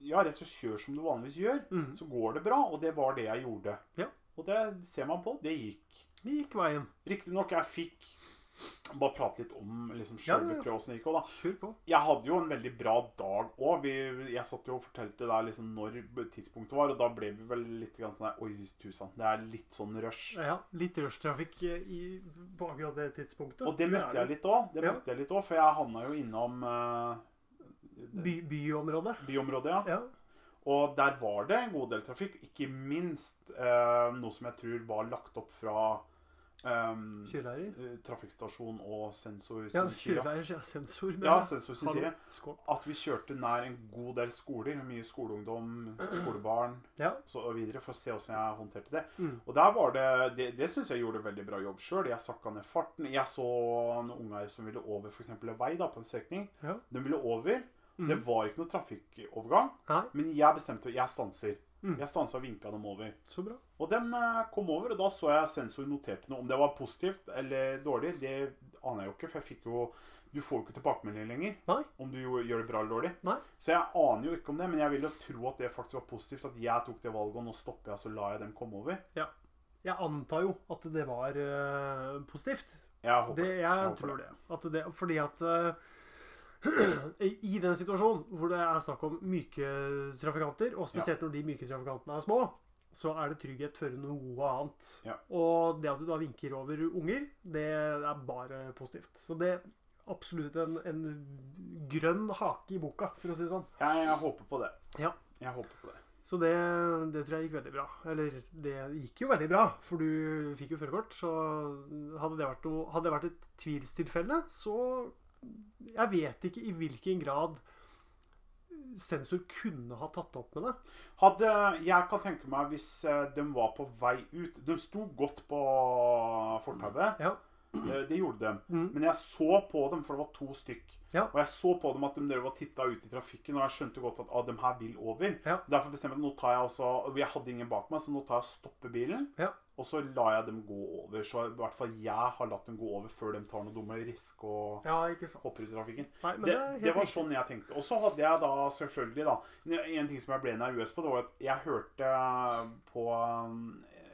B: Ja, rett og slett kjør som du vanligvis gjør,
A: Mhm.
B: så går det bra. Og det var det jeg gjorde.
A: Ja.
B: Og det ser man på. Det gikk.
A: Vi gikk veien.
B: Riktignok, jeg fikk bare prate litt om liksom,
A: Ja, ja, ja.
B: selve prøvelsen det gikk også, da.
A: Kjør på.
B: Jeg hadde jo en veldig bra dag òg. Jeg satt jo og fortalte deg liksom når tidspunktet var, og da ble vi vel litt grann sånn der Oi, tusen, det er litt sånn rush.
A: Ja, litt rushtrafikk eh, i- på akkurat det tidspunktet.
B: Og det
A: er
B: møtte
A: det.
B: jeg litt òg, det
A: Ja.
B: møtte jeg litt også, for jeg havna jo innom eh,
A: By, byområdet.
B: byområdet, ja.
A: Ja.
B: Og der var det en god del trafikk. Ikke minst eh, noe som jeg tror var lagt opp fra um,
A: Kjørelærer.
B: trafikkstasjon og sensor
A: Ja,
B: sin side.
A: kjørelærer er sensor. men-
B: Ja, sensor sin
A: Hallo,
B: side.
A: Skål.
B: At vi kjørte nær en god del skoler. Mye skoleungdom, skolebarn
A: Ja.
B: og så videre, for å se hvordan jeg håndterte det.
A: Mm.
B: Og der var det Det, det syns jeg gjorde en veldig bra jobb sjøl. Jeg sakka ned farten. Jeg så noen unger som ville over f.eks. en vei da, på en strekning.
A: Ja.
B: De ville over.
A: Mm.
B: Det var ikke noen trafikkovergang,
A: Nei,
B: men jeg bestemte Jeg stanser.
A: Mm.
B: Jeg stansa og vinka dem over.
A: så bra.
B: Og dem eh, kom over, og da så jeg sensor noterte noe. Om det var positivt eller dårlig, det aner jeg jo ikke, for jeg fikk jo Du får jo ikke tilbakemelding lenger
A: Nei.
B: om du jo gjør det bra eller dårlig.
A: Nei.
B: Så jeg aner jo ikke om det, men jeg vil jo tro at det faktisk var positivt. At jeg tok det valget, og nå stopper jeg, så lar jeg dem komme over.
A: Jeg antar jo at det var eh, positivt.
B: Jeg håper
A: Det,
B: det.
A: jeg,
B: håper
A: tror det. At det. Fordi at eh, I den situasjonen hvor det er snakk om myke trafikanter, og spesielt når de myke trafikantene er små, så er det trygghet før noe annet.
B: Ja.
A: Og det at du da vinker over unger, det er bare positivt. Så det er absolutt en, en grønn hake i boka, for å si det sånn.
B: Jeg, jeg håper på det.
A: Ja.
B: Jeg håper på det.
A: Så det, det tror jeg gikk veldig bra. Eller det gikk jo veldig bra, for du fikk jo førerkort. Så hadde det, vært noe, hadde det vært et tvilstilfelle, så Jeg vet ikke i hvilken grad sensor kunne ha tatt opp med det.
B: Hadde, jeg kan tenke meg hvis eh, de var på vei ut De sto godt på fortauet. Eh,
A: Ja.
B: Det, det gjorde de.
A: Mm.
B: Men jeg så på dem, for det var to stykk.
A: Ja.
B: Og jeg så på dem at de drev og titta ut i trafikken, og jeg skjønte godt at ah, de her vil over.
A: Ja.
B: Derfor bestemte jeg meg, nå tar jeg også og Jeg hadde ingen bak meg, så nå tar jeg og stopper bilen.
A: Ja.
B: Og så lar jeg dem gå over. Så i hvert fall jeg har latt dem gå over før de tar noe dumme risk og
A: Ja, ikke sant.
B: hopper ut i trafikken.
A: Nei, men det,
B: Det,
A: er helt
B: det var
A: riktig.
B: sånn jeg tenkte. Og så hadde jeg da selvfølgelig da En ting som jeg ble nervøs på, det var at jeg hørte eh, på um,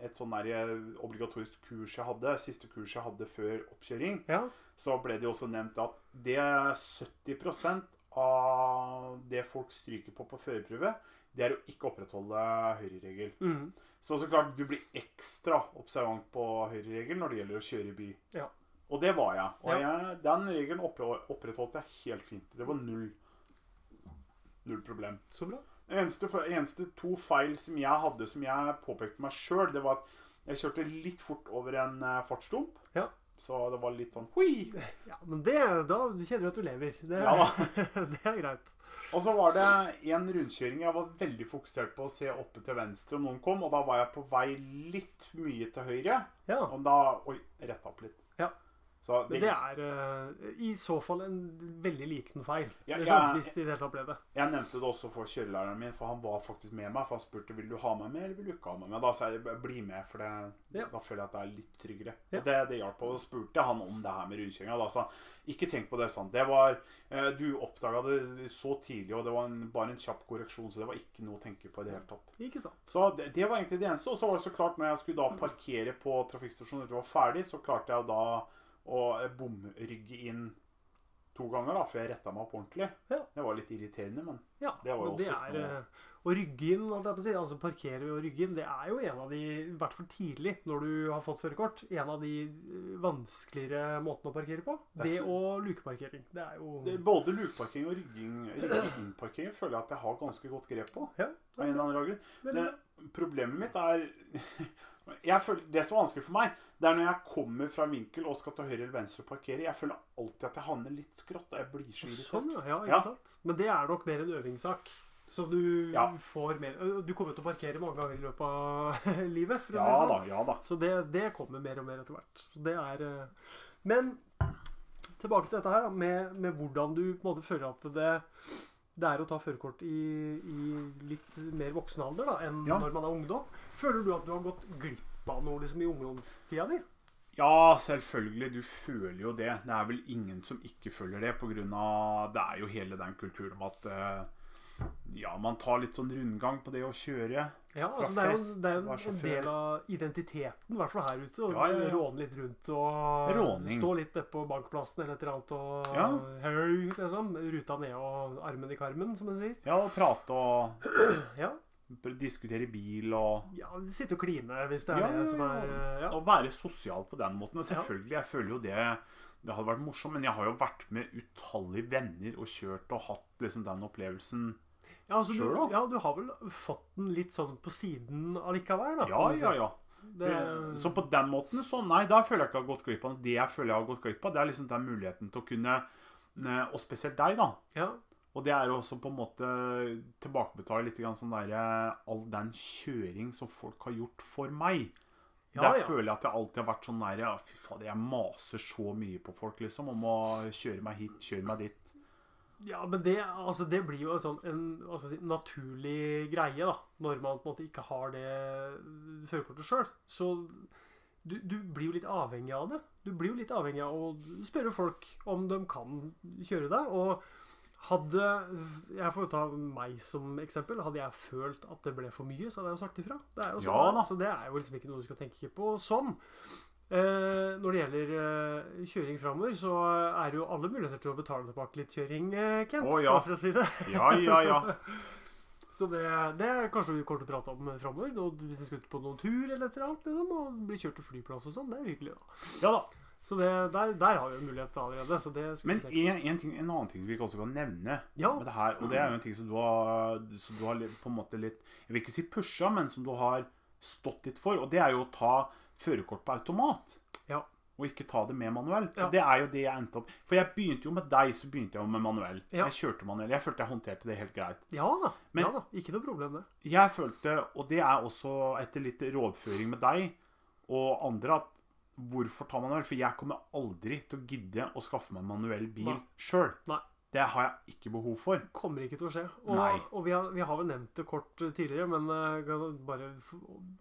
B: et sånn der obligatorisk kurs jeg hadde, siste kurs jeg hadde før oppkjøring,
A: Ja.
B: så ble det jo også nevnt at det 70 av det folk stryker på på førerprøve, det er å ikke opprettholde høyreregel.
A: Mm.
B: Så så klart, du blir ekstra observant på høyreregel når det gjelder å kjøre i by.
A: Ja.
B: Og det var jeg. Og
A: Ja.
B: jeg, den regelen oppre- opprettholdt jeg helt fint. Det var null, null problem.
A: Så bra.
B: Eneste, fe- eneste to feil som jeg hadde, som jeg påpekte meg sjøl, det var at jeg kjørte litt fort over en eh, fartsdump.
A: Ja.
B: Så det var litt sånn hui!
A: Ja, men det, da kjenner du at du lever. Det,
B: Ja da.
A: det er greit.
B: Og så var det en rundkjøring jeg var veldig fokusert på å se oppe til venstre om noen kom, og da var jeg på vei litt mye til høyre.
A: Ja.
B: Og da Oi, retta opp litt.
A: Ja.
B: Så
A: Men
B: det,
A: det er eh, i så fall en veldig liten feil,
B: Ja,
A: liksom,
B: ja.
A: hvis de i det hele tatt ble det.
B: Jeg nevnte det også for kjørelæreren min, for han var faktisk med meg. For han spurte vil du ha meg med eller vil du ikke ha meg med. Da sa jeg "Bare bli med, for det,
A: Ja.
B: da føler jeg at det er litt tryggere.
A: Ja.
B: Og det, det hjalp. Og da spurte jeg han om det her med rundkjøringa. Da sa han ikke tenk på det, sånn. Det var, eh, du oppdaga det så tidlig, og det var en, bare en kjapp korreksjon, så det var ikke noe å tenke på i det hele tatt.
A: Ikke sant.
B: Så det, det var egentlig det eneste. Og så var det så klart, når jeg skulle da parkere på trafikkstasjonen etter å var ferdig, så klarte jeg da å eh, bomrygge inn to ganger, da, før jeg retta meg opp ordentlig.
A: Ja.
B: Det var litt irriterende, men
A: Ja,
B: Det var jo
A: men det
B: også
A: er
B: noe-
A: eh, Å rygge inn, holdt jeg på å si, altså parkere og rygge inn, det er jo en av de, i hvert fall tidlig når du har fått førerkort, en av de eh, vanskeligere måtene å parkere på.
B: Det er
A: Det
B: så-
A: og lukeparkering. Det er jo
B: det, både lukeparkering og rygging, rygging-parkering føler jeg at jeg har ganske godt grep på.
A: Ja,
B: Av en eller annen grunn.
A: veldig
B: det, problemet mitt er jeg føler, Det som er vanskelig for meg, det er når jeg kommer fra en vinkel og skal ta høyre eller venstre og parkere. Jeg føler alltid at jeg havner litt skrått. og Jeg blir så irritert.
A: Sånn, ja. ja, ikke
B: Ja.
A: sant? Men det er nok mer en øvingssak. Så du
B: Ja.
A: får mer ø, Du kommer til å parkere mange ganger i løpet av livet, for å
B: Ja
A: si det
B: da,
A: sånn.
B: ja da.
A: Så det, det kommer mer og mer etter hvert. Så det er eh, Men tilbake til dette her, da, med, med hvordan du på en måte føler at det det er å ta førerkort i, i litt mer voksen alder da, enn
B: Ja.
A: når man er ungdom. Føler du at du har gått glipp av noe liksom, i ungdomstida di?
B: Ja, selvfølgelig. Du føler jo det. Det er vel ingen som ikke føler det, pga. Det er jo hele den kulturen om at eh, ja, man tar litt sånn rundgang på det å kjøre.
A: Ja, altså det
B: Fra
A: er jo,
B: fest,
A: det er jo en,
B: var
A: en
B: sjåfør.
A: del av identiteten, i hvert fall her ute. Å
B: Ja, ja, ja.
A: råne litt rundt og
B: Råning.
A: stå litt nede på bankplassen eller et eller annet og hei, liksom. Ruta ned og armen i karmen, som man sier.
B: Ja, og prate og
A: Ja.
B: diskutere bil og
A: ja sitte og kline hvis det er
B: Ja, ja,
A: det som
B: ja.
A: er eh, Ja.
B: Å være sosial på den måten. Og Selvfølgelig, jeg føler jo det Det hadde vært morsomt, men jeg har jo vært med utallige venner og kjørt og hatt liksom den opplevelsen.
A: Ja, altså, du,
B: Sure, da.
A: ja, du har vel fått den litt sånn på siden allikevel, da.
B: Ja,
A: kan du si.
B: ja, ja.
A: Det,
B: Så- Så på den måten, så nei, der føler jeg ikke jeg har gått glipp av. Det jeg føler jeg har gått glipp av, det er liksom den muligheten til å kunne Og spesielt deg, da.
A: ja.
B: Og det er jo også på en måte tilbakebetale litt grann sånn derre All den kjøring som folk har gjort for meg.
A: Ja,
B: der
A: ja.
B: føler jeg at jeg alltid har vært sånn der ja, Fy fader, jeg maser så mye på folk, liksom, om å kjøre meg hit, kjøre meg dit.
A: Ja, men det, altså, det blir jo en sånn en, hva skal jeg si, naturlig greie, da. Når man på en måte ikke har det førerkortet sjøl. Så du, du blir jo litt avhengig av det. Du blir jo litt avhengig av å spørre folk om de kan kjøre deg. Og hadde Jeg får jo ta meg som eksempel. Hadde jeg følt at det ble for mye, så hadde jeg jo sagt ifra. Det er jo sånn,
B: Ja, da.
A: Så det er jo liksom ikke noe du skal tenke på sånn. Eh, når det gjelder eh, kjøring framover, så er det jo alle muligheter til å betale tilbake litt kjøring, eh, Kent.
B: Å, ja.
A: bare for å si det.
B: Ja, ja, ja.
A: Så det, det er kanskje vi kommer til å prate om eh, framover. Hvis vi skal ut på noen tur eller et eller annet, liksom, og bli kjørt til flyplass og sånn. Det er hyggelig, da.
B: ja da.
A: Så det, der, der har vi en mulighet allerede. Så det skal
B: Men
A: vi tenke.
B: en, en, ting, en annen ting vi ikke også kan nevne
A: Ja.
B: med det her, og det er jo en ting som du har, som du har litt- på en måte litt Jeg vil ikke si pusha, men som du har stått litt for, og det er jo å ta førerkort på automat.
A: Ja.
B: og ikke ta det med manuell.
A: Ja.
B: Det er jo det jeg endte opp For jeg begynte jo med deg, så begynte jeg jo med manuell.
A: Ja.
B: Jeg kjørte manuell. Jeg følte jeg håndterte det helt greit.
A: Ja da.
B: Men-
A: ja da. Ikke noe problem, det.
B: Jeg følte, og det er også etter litt rådføring med deg og andre, at hvorfor ta manuell? For jeg kommer aldri til å gidde å skaffe meg en manuell bil
A: Nei.
B: sjøl.
A: Nei.
B: Det har jeg ikke behov for.
A: Kommer ikke til å skje. Og,
B: Nei.
A: og vi, har, vi har vel nevnt det kort eh, tidligere, men eh, kan jeg bare f-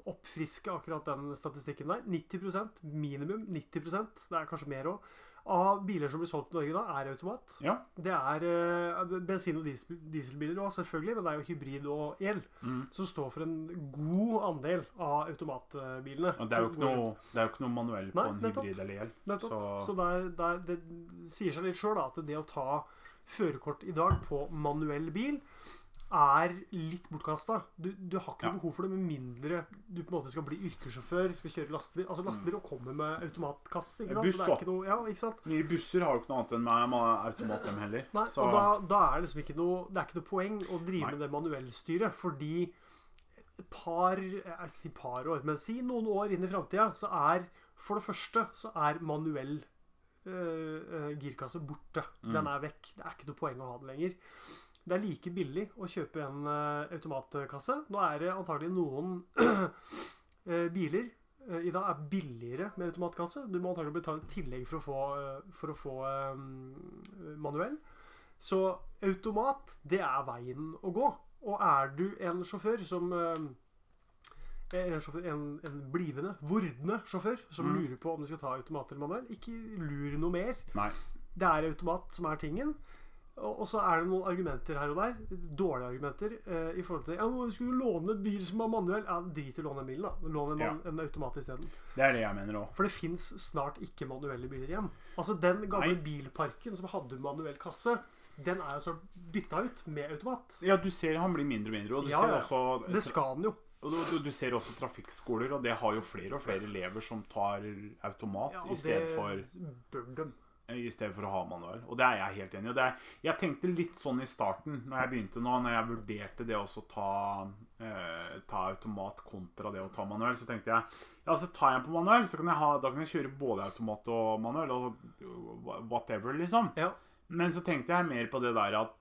A: oppfriske akkurat den statistikken der. 90 minimum 90 det er kanskje mer òg, av biler som blir solgt i Norge da, er automat.
B: Ja.
A: Det er eh, bensin- og diesel, dieselbiler òg, selvfølgelig, men det er jo hybrid og el
B: Mhm.
A: som står for en god andel av automatbilene.
B: Og det er jo
A: som
B: ikke
A: går
B: noe, det er jo ikke noe manuell på
A: Nei,
B: en
A: nettopp.
B: hybrid eller el.
A: Nettopp. Så,
B: Så-
A: der, der, det sier seg litt sjøl at det å ta førerkort i dag på manuell bil er litt bortkasta. Du, du har ikke
B: Ja.
A: behov for det med mindre du på en måte skal bli yrkessjåfør, skal kjøre lastebil. Altså lastebil og kommer med automatkasse, ikke sant? Så det er
B: Buss,
A: ikke noe, ja, ikke sant?
B: Nye busser har jo ikke noe annet enn meg, med automat dem heller.
A: Nei,
B: så
A: og da, da er det liksom ikke noe, det er ikke noe poeng å drive
B: Nei.
A: med det manuellstyret, fordi et par, jeg sier par år, men si noen år inn i framtida, så er for det første så er manuell eh, eh, girkasse borte.
B: Mm.
A: Den er vekk. Det er ikke noe poeng å ha den lenger. Det er like billig å kjøpe en eh, automatkasse. Nå er det antagelig noen eh, biler eh, i dag er billigere med automatkasse. Du må antagelig betale et tillegg for å få, eh, for å få eh, manuell. Så automat, det er veien å gå. Og er du en sjåfør som eh, en, sjåfør, en, en blivende, vordende sjåfør som
B: Mm.
A: lurer på om du skal ta automat eller manuell, ikke lur noe mer.
B: Nei.
A: Det er automat som er tingen. Og og så er det noen argumenter her og der. Dårlige argumenter. eh, I forhold til Ja, men du skulle låne en bil som har manuell. Ja, drit i å låne en bil, da. Lån en, man- en automat isteden.
B: Det er det jeg mener òg.
A: For det fins snart ikke manuelle biler igjen. Altså Den gamle
B: Nei.
A: bilparken som hadde manuell kasse, den er jo så bytta ut med automat.
B: Ja, du ser han blir mindre og mindre, og du,
A: Ja,
B: ser,
A: ja.
B: Også,
A: Det skal den jo.
B: og du, du, du ser også trafikkskoler, og det har jo flere og flere elever som tar automat
A: Ja,
B: i,
A: og
B: stedet
A: det
B: for,
A: bør de.
B: eh, i stedet for å ha manuell. Og det er jeg helt enig i. Og det er- Jeg tenkte litt sånn i starten, når jeg begynte nå, når jeg vurderte det også å ta, eh, ta automat kontra det å ta manuell, så tenkte jeg ja, så tar jeg på manuell, så kan jeg ha, da kan jeg kjøre både automat og manuell, og whatever, liksom.
A: Ja.
B: Men så tenkte jeg mer på det der at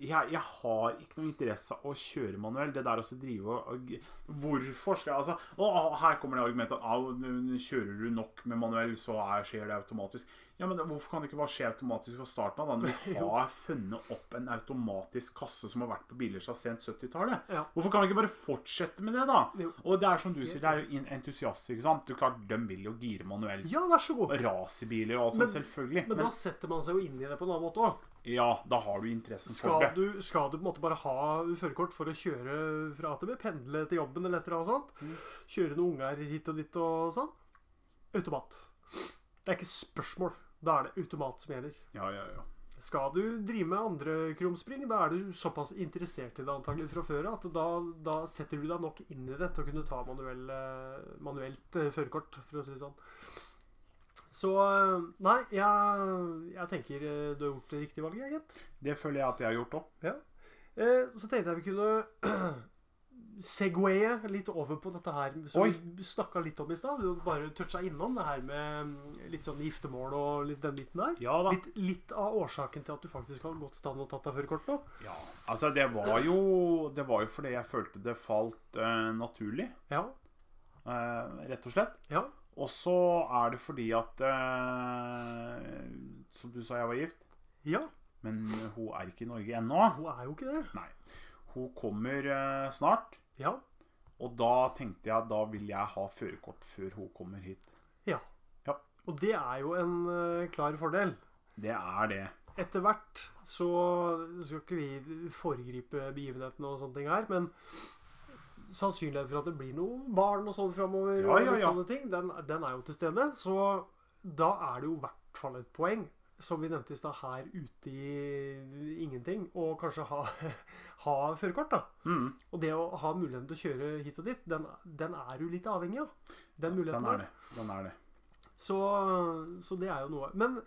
B: jeg, jeg har ikke noe interesse av å kjøre manuell. Det der også drive og, og Hvorfor skal jeg altså, og, og Her kommer det argumentet at «Au, men kjører du nok med manuell, så er, skjer det automatisk. Ja, men Hvorfor kan det ikke bare skje automatisk fra starten av? da, Når vi har funnet opp en automatisk kasse som har vært på biler siden sent 70-tallet.
A: Ja.
B: Hvorfor kan vi ikke bare fortsette med det, da?
A: Jo.
B: Og det er som du sier, det er jo en- entusiaster, ikke sant? Det er klart, De vil jo gire manuelt.
A: ja, vær så god.
B: Racerbiler og alt
A: Men-
B: sånt, selvfølgelig.
A: Men da setter man seg jo inn i det på en annen måte òg.
B: Ja, da har du interessen
A: Skal
B: for det.
A: du, skal du på en måte bare ha førerkort for å kjøre fra AtB? Pendle til jobben eller et eller annet
B: Mm.
A: sånt? Kjøre noen unger hit og dit og sånn? Automat. Det er ikke spørsmål. Da er det automat som gjelder.
B: Ja, ja, ja.
A: Skal du drive med andre krumspring, da er du såpass interessert i det antagelig fra før av at da, da setter du deg nok inn i det til å kunne ta manuell, eh, manuelt eh, førerkort, for å si det sånn. Så eh, nei, jeg, jeg tenker eh, du har gjort det riktige valget, jeg, gitt.
B: Det føler jeg at jeg har gjort òg.
A: Eh, Så tenkte jeg vi kunne segwaye litt over på dette her som
B: Oi.
A: vi snakka litt om i stad. Du bare toucha innom det her med mm, litt sånn giftermål og litt den biten der.
B: Ja da.
A: Litt, litt av årsaken til at du faktisk har gått stand og tatt deg førerkort nå.
B: Ja. Altså, det var jo Det var jo fordi jeg følte det falt eh, naturlig,
A: Ja.
B: eh, rett og slett.
A: Ja.
B: Og så er det fordi at eh, Som du sa, jeg var gift.
A: Ja.
B: Men hun er ikke i Norge ennå.
A: Hun er jo ikke det.
B: Nei. Hun kommer eh, snart.
A: Ja.
B: Og da tenkte jeg da vil jeg ha førerkort før hun kommer hit.
A: Ja.
B: Ja.
A: Og det er jo en eh, klar fordel.
B: Det er det.
A: etter hvert så skal ikke vi foregripe begivenhetene og sånne ting her, men sannsynligheten for at det blir noen barn og sånn framover,
B: Ja, ja,
A: og litt
B: ja.
A: sånne ting, den, den er jo til stede. Så da er det jo i hvert fall et poeng, som vi nevnte i stad, her ute i ingenting, og kanskje ha, ha førerkort, da.
B: Mm,
A: Og det å ha muligheten til å kjøre hit og dit, den, den er du litt avhengig av. Den muligheten
B: den
A: der.
B: er det. Den er det.
A: Så, så det er jo noe. Men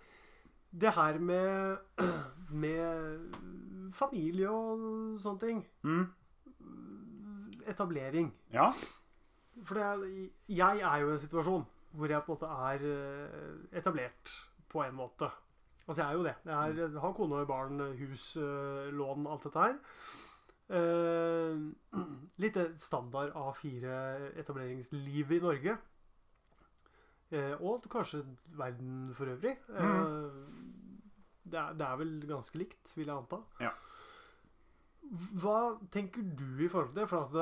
A: det her med, med familie og sånne ting
B: Mm,
A: Etablering.
B: ja.
A: For det er, jeg er jo i en situasjon hvor jeg på en måte er eh, etablert på en måte. Altså, jeg er jo det. Jeg er, har kone, barn, hus, eh, lån, alt dette her. Eh, litt eh, standard A4-etableringsliv i Norge. Eh, og kanskje verden for øvrig. Eh, det, er, det er vel ganske likt, vil jeg anta.
B: Ja.
A: Hva tenker du i forhold til det? For at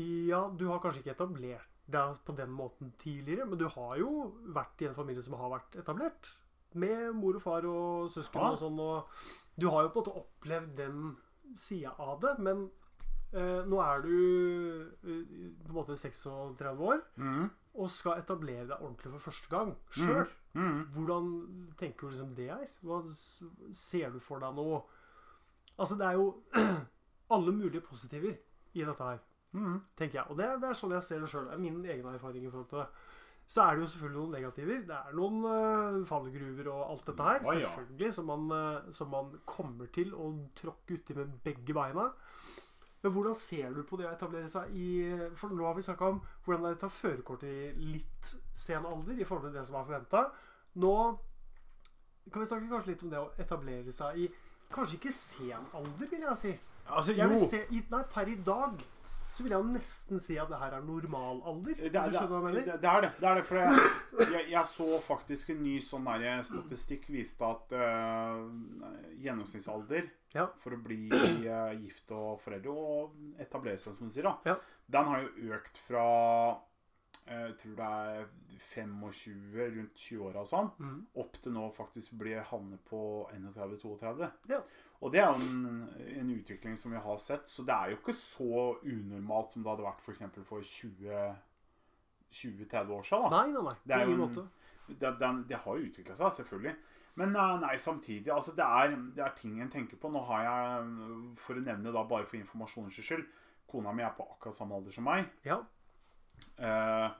A: det, ja, du har kanskje ikke etablert deg på den måten tidligere, men du har jo vært i en familie som har vært etablert. Med mor og far og søsken
B: Ja.
A: og sånn. Og du har jo på en måte opplevd den sida av det, men eh, nå er du eh, på en måte 36 år
B: Mhm.
A: og skal etablere deg ordentlig for første gang sjøl.
B: Mhm.
A: Hvordan tenker du liksom det er? Hva s- ser du for deg nå? Altså, det er jo alle mulige positiver i dette her,
B: Mhm.
A: tenker jeg. Og det, det er sånn jeg ser det sjøl. Det er min egen erfaring i forhold til det. Så er det jo selvfølgelig noen negativer. Det er noen øh, fallgruver og alt dette her.
B: Ja, ja.
A: Selvfølgelig. Som man, øh, som man kommer til å tråkke uti med begge beina. Men hvordan ser du på det å etablere seg i For nå har vi snakka om hvordan det er å ta førerkort i litt sen alder i forhold til det som er forventa. Nå kan vi snakke kanskje litt om det å etablere seg i Kanskje ikke sen alder, vil jeg si.
B: Altså,
A: Jeg vil
B: jo.
A: se, i, nei, per i dag så vil jeg jo nesten si at det her er normalalder.
B: Det,
A: Hvis
B: det,
A: du skjønner hva jeg
B: det,
A: mener?
B: det er det. det, er det for jeg, jeg, jeg så faktisk en ny sånn der statistikk viste at eh, gjennomsnittsalder
A: Ja.
B: for å bli eh, gift og foreldre og etablere seg, som du sier, da,
A: Ja.
B: den har jo økt fra eh, jeg tror det er 25, rundt 20-åra og sånn,
A: Mhm.
B: opp til nå faktisk blir havnet på 31-32.
A: Ja.
B: Og det er jo en, en utvikling som vi har sett, så det er jo ikke så unormalt som det hadde vært for eksempel for 20 20-30 år siden. Da.
A: Nei, nei, nei.
B: Det
A: På
B: er jo
A: ingen
B: en-
A: måte.
B: Det, den- det har jo utvikla seg, selvfølgelig. Men eh, nei, samtidig altså det, er, det er ting en tenker på. Nå har jeg, for å nevne da bare for informasjonens skyld Kona mi er på akkurat samme alder som meg.
A: Ja.
B: Eh,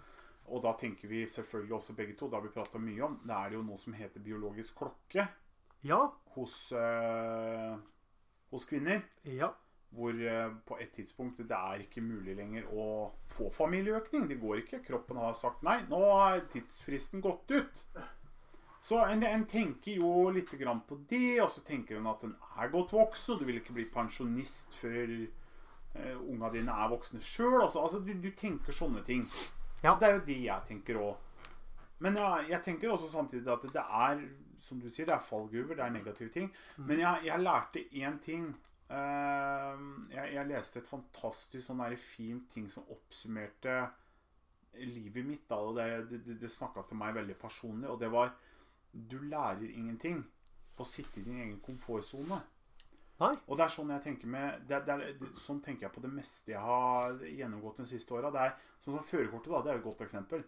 B: og da tenker vi selvfølgelig også begge to, det har vi prata mye om, det er det jo noe som heter biologisk klokke
A: Ja.
B: hos, eh, hos kvinner.
A: Ja.
B: Hvor eh, på et tidspunkt det er ikke mulig lenger å få familieøkning. Det går ikke. Kroppen har sagt nei. Nå er tidsfristen gått ut. Så en, en tenker jo litt grann på det, og så tenker en at en er godt voksen, og du vil ikke bli pensjonist før eh, unga dine er voksne sjøl. Altså, altså, du, du tenker sånne ting.
A: Ja.
B: Det er jo det jeg tenker òg. Men jeg, jeg tenker også samtidig at det er som du sier, det er fallgruver, det er negative ting. Men jeg, jeg lærte én ting. Eh, jeg, jeg leste et fantastisk sånn der fint ting som oppsummerte livet mitt. Da, og Det, det, det- det snakka til meg veldig personlig, og det var Du lærer ingenting på å sitte i din egen komfortsone.
A: Nei.
B: Og det er sånn jeg tenker med det, det er, det, Sånn tenker jeg på det meste jeg har gjennomgått de siste åra. Sånn som førerkortet, da. Det er jo et godt eksempel.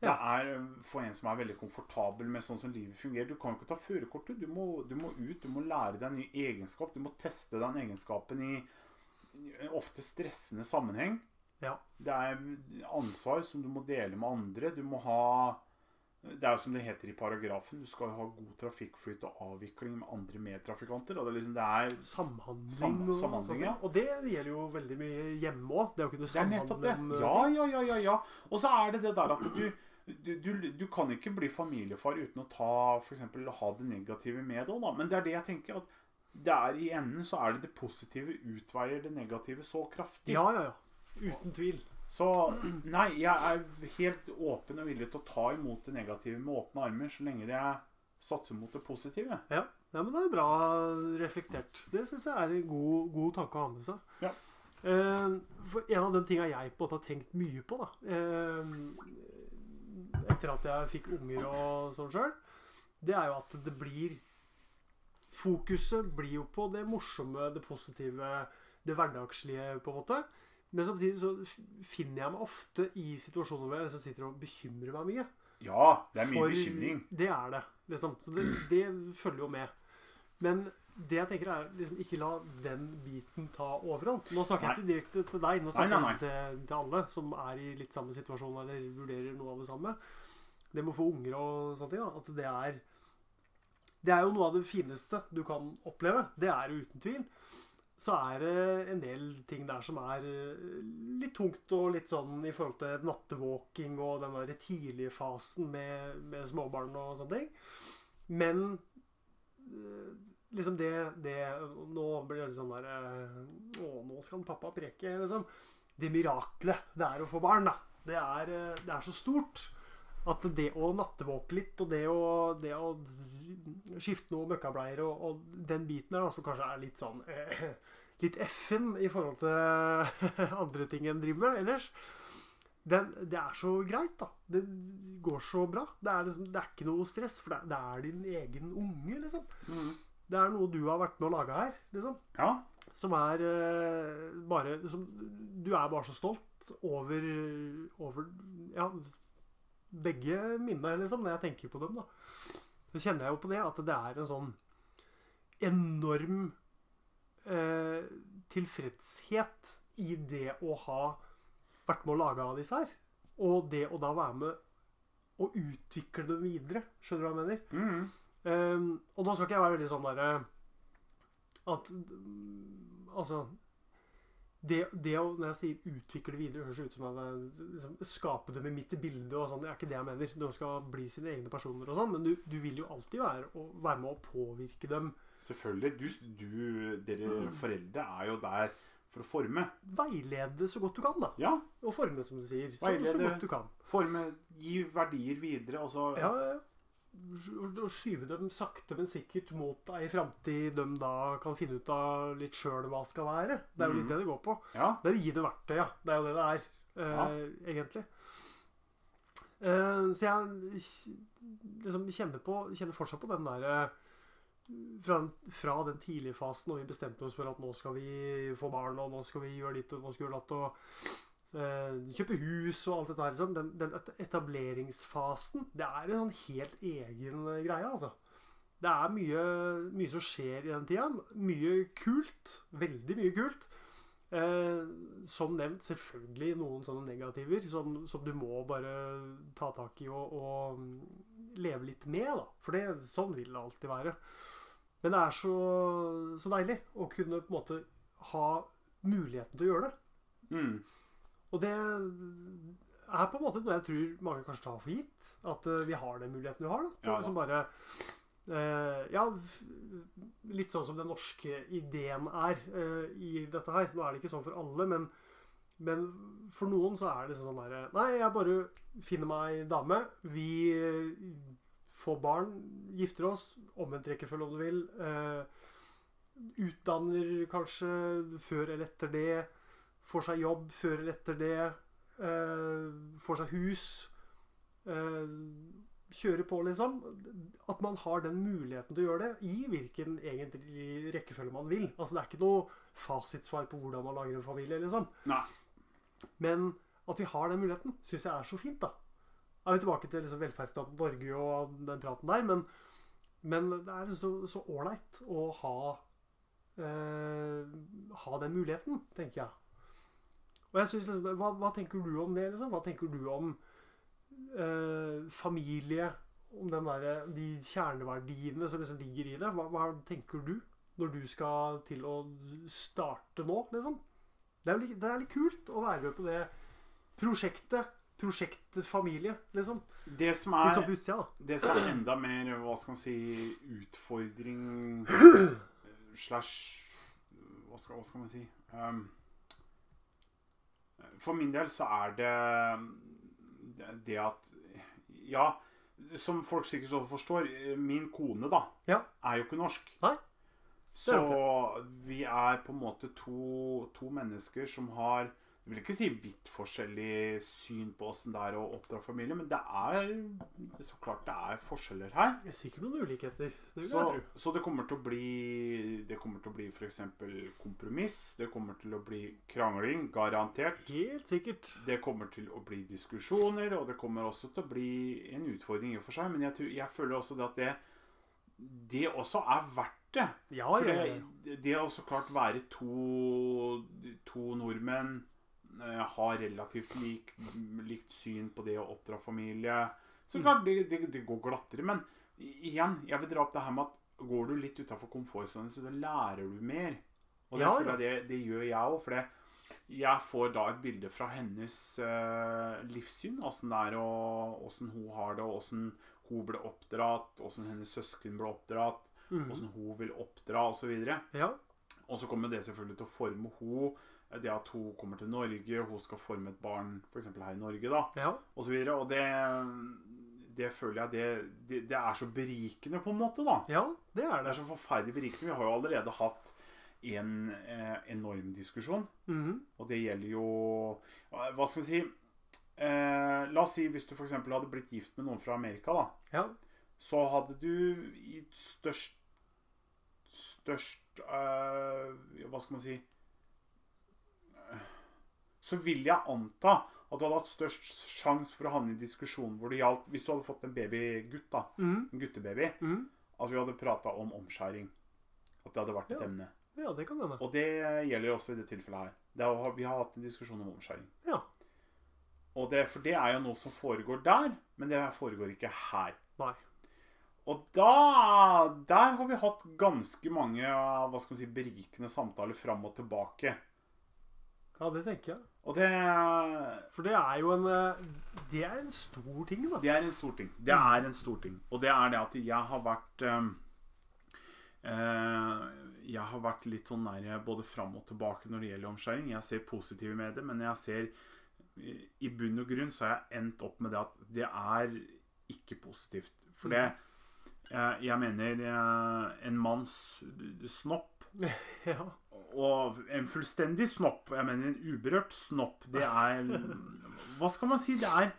B: Det er øh, for en som er veldig komfortabel med sånn som livet fungerer. Du kan jo ikke ta førerkort, du. Du må, du må ut, du må lære deg en ny egenskap. Du må teste den egenskapen i i ofte stressende sammenheng.
A: Ja.
B: Det er ansvar som du må dele med andre. Du må ha Det er jo som det heter i paragrafen, du skal jo ha god trafikkflyt og avvikling med andre medtrafikanter. Og det er liksom, det er
A: Samhandling.
B: Sam-
A: og-
B: samhandling, ja.
A: Og det gjelder jo veldig mye hjemme òg. Det å kunne
B: Det er
A: samhandle
B: nettopp det.
A: om, eh,
B: Ja, ja, ja, ja, ja. Og så er det det der at du du, du, du kan ikke bli familiefar uten å ta for eksempel, ha det negative med det. også, Da. Men det er det jeg tenker. at det er I enden så er det det positive utveier det negative så kraftig.
A: ja, ja, ja. Uten tvil.
B: Så nei, jeg er helt åpen og villig til å ta imot det negative med åpne armer så lenge jeg satser mot det positive.
A: Ja. ja, men det er bra reflektert. Det syns jeg er en god, god tanke å ha med seg.
B: Ja.
A: Eh, for en av de tinga jeg på en måte har tenkt mye på, da eh, Etter at jeg fikk unger og sånn sjøl, det er jo at det blir Fokuset blir jo på det morsomme, det positive, det hverdagslige, på en måte. Men samtidig så f- finner jeg meg ofte i situasjoner hvor jeg liksom sitter og bekymrer meg mye.
B: Ja, det er mye
A: For-
B: bekymring.
A: Det er det. liksom. Så det, det følger jo med. Men det jeg tenker er liksom, ikke la den biten ta overhånd. Nå snakker jeg ikke direkte til deg, nå snakker
B: Nei, nei,
A: jeg liksom til, til alle som er i litt samme situasjon eller vurderer noe av det samme. Det med å få unger og sånne ting. da, At det er Det er jo noe av det fineste du kan oppleve. Det er det uten tvil. så er det en del ting der som er eh, litt tungt og litt sånn i forhold til nattevåking og den der tidlige fasen med, med småbarn og sånne ting. Men eh, liksom det, det Nå blir det litt sånn der eh, Å, nå skal pappa preke, liksom. Det miraklet det er å få barn, da. Det er, eh, det er så stort. At det å nattevåke litt, og det å, det å skifte noen møkkableier, og, og den biten der, da, som kanskje er litt sånn eh, Litt effen i forhold til andre ting en driver med ellers. Den, det er så greit, da. Det går så bra. Det er, liksom, det er ikke noe stress, for det, er- det er din egen unge, liksom. Det er noe du har vært med å lage her, liksom.
B: Ja.
A: Som er eh, bare som, Du er bare så stolt over, over ja, begge minnene, liksom, når jeg tenker på dem. da. Så kjenner jeg jo på det at det er en sånn enorm eh, tilfredshet i det å ha vært med å lage av disse her. Og det å da være med å utvikle dem videre. Skjønner du hva jeg mener?
B: Mhm.
A: Ehm, og nå skal ikke jeg være veldig sånn derre At mm, Altså det, det å, Når jeg sier 'utvikle videre', høres det ut som at jeg s- liksom, skape dem i mitt bilde. og sånn, Det er ikke det jeg mener. De skal bli sine egne personer, og sånn, men du, du vil jo alltid være, å, være med å påvirke dem.
B: Selvfølgelig. Du, du,
A: Mm.
B: dere foreldre er jo der for å forme.
A: Veilede så godt du kan, da.
B: Ja.
A: Og forme, som du sier. Så, så
B: Veilede.
A: godt du kan.
B: Forme, gi verdier videre. Altså,
A: Ja, ja, ja. Og- og skyve dem sakte, men sikkert mot ei framtid de da kan finne ut av litt sjøl hva skal være. Det er jo litt
B: Mhm.
A: det det går på.
B: ja.
A: Det er å gi det verktøy, ja. Det er jo det det er, eh, egentlig. Eh, så jeg kj- liksom kjenner, på, kjenner fortsatt på den der eh, fra, den- fra den tidlige fasen når vi bestemte oss for at nå skal vi få barn, og nå skal vi gjøre ditt, og nå skal vi gjøre datt, og eh, kjøpe hus og alt dette her. Liksom. Den, den et- etableringsfasen, det er en sånn helt egen eh, greie, altså. Det er mye, mye som skjer i den tida. Mye kult. Veldig mye kult. Eh, som nevnt, selvfølgelig noen sånne negativer som, som du må bare ta tak i og, og leve litt med, da. For det, sånn vil det alltid være. Men det er så, så deilig å kunne på en måte ha muligheten til å gjøre det.
B: Mm.
A: Og det er på en måte noe jeg tror mange kanskje tar for gitt. At eh, vi har den muligheten vi har. Da. Til
B: Ja,
A: å liksom bare eh, Ja, f- litt sånn som den norske ideen er eh, i dette her. Nå er det ikke sånn for alle, men, men for noen så er det liksom sånn derre Nei, jeg bare finner meg dame. Vi eh, får barn, gifter oss. Omvendt rekkefølge, om du vil. eh, utdanner kanskje før eller etter det får seg jobb før eller etter det, eh, får seg hus, eh, kjører på, liksom. At man har den muligheten til å gjøre det, i hvilken egentlig rekkefølge man vil. Altså, det er ikke noe fasitsvar på hvordan man lager en familie, liksom.
B: Nei.
A: Men at vi har den muligheten, syns jeg er så fint, da. Jeg er jo tilbake til liksom velferdsstaten Norge og den praten der, men, men det er så så ålreit å ha eh, ha den muligheten, tenker jeg. Og jeg synes liksom, hva, hva tenker du om det? liksom? Hva tenker du om eh, familie? Om den der, de kjerneverdiene som liksom ligger i det? Hva, hva tenker du når du skal til å starte nå, liksom? Det er, jo litt, det er litt kult å være med på det prosjektet. Prosjekt familie, liksom.
B: Det som
A: Litt
B: er
A: sånn på utsida, da.
B: Det som er enda mer hva skal man si, utfordring eh, slash hva skal, hva skal man si um, For min del så er det det- det at Ja, som folk sikkert også forstår, eh, min kone da
A: Ja.
B: er jo ikke norsk.
A: Nei,
B: Så
A: er hun
B: vi er på en måte to, to mennesker som har jeg vil ikke si vidt forskjellig syn på åssen det er å oppdra familie, men det er så klart det er forskjeller her.
A: Det er sikkert noen ulikheter. Det vil
B: Så,
A: jeg tro.
B: så det kommer til å bli Det kommer til å bli f.eks. kompromiss. Det kommer til å bli krangling, garantert.
A: Helt sikkert.
B: Det kommer til å bli diskusjoner, og det kommer også til å bli en utfordring i og for seg. Men jeg, tror, jeg føler også det at det, det også er verdt det.
A: Ja,
B: For
A: ja, ja.
B: det, det å så klart være to, to nordmenn, eh, ha relativt lik, likt syn på det å oppdra familie
A: Mm.
B: Så klart, det, det, det går glattere. Men i- igjen, jeg vil dra opp det her med at går du litt utafor komfortsonen, så da lærer du mer. Og det,
A: Ja,
B: føler
A: ja.
B: jeg det, det gjør jeg òg, for det, jeg får da et bilde fra hennes eh, livssyn. Åssen det er, og åssen hun har det, og åssen hun ble oppdratt, åssen hennes søsken ble oppdratt,
A: Mhm.
B: åssen hun vil oppdra, osv.
A: Ja.
B: Og så kommer det selvfølgelig til å forme hun, eh, det at hun kommer til Norge, hun skal forme et barn f.eks. her i Norge, da,
A: ja.
B: osv. Og, og det, det føler jeg det, det, det er så berikende, på en måte, da.
A: Ja, det er
B: Det
A: det.
B: er så forferdelig berikende. Vi har jo allerede hatt en eh, enorm diskusjon,
A: Mhm.
B: og det gjelder jo Hva skal vi si? Eh, la oss si hvis du f.eks. hadde blitt gift med noen fra Amerika, da
A: Ja.
B: så hadde du i størst Størst eh, Hva skal man si Eh, Så vil jeg anta at du hadde hatt størst sjanse for å havne i en diskusjon hvor det gjaldt Hvis du hadde fått en babygutt, da,
A: Mhm.
B: en guttebaby,
A: Mhm.
B: at vi hadde prata om omskjæring. At det hadde vært et
A: Ja.
B: emne.
A: ja, det kan hende.
B: Og det gjelder også i det tilfellet her. Det er, vi har hatt en diskusjon om omskjæring.
A: Ja.
B: Og det, for det er jo noe som foregår der, men det foregår ikke her.
A: Nei.
B: Og da Der har vi hatt ganske mange hva skal man si, berikende samtaler fram og tilbake.
A: Ja, det tenker jeg.
B: Og det,
A: For det er jo en eh, Det er en stor ting, da.
B: det er en stor ting. Det er en stor ting. Og det er det at jeg har vært eh, eh, Jeg har vært litt sånn nær både fram og tilbake når det gjelder omskjæring. Jeg ser positive med det, men jeg ser eh, I bunn og grunn så har jeg endt opp med det at det er ikke positivt. For det eh, Jeg mener eh, en manns snopp
A: Ja.
B: Og en fullstendig snopp, jeg mener en uberørt snopp, det er Hva skal man si? Det er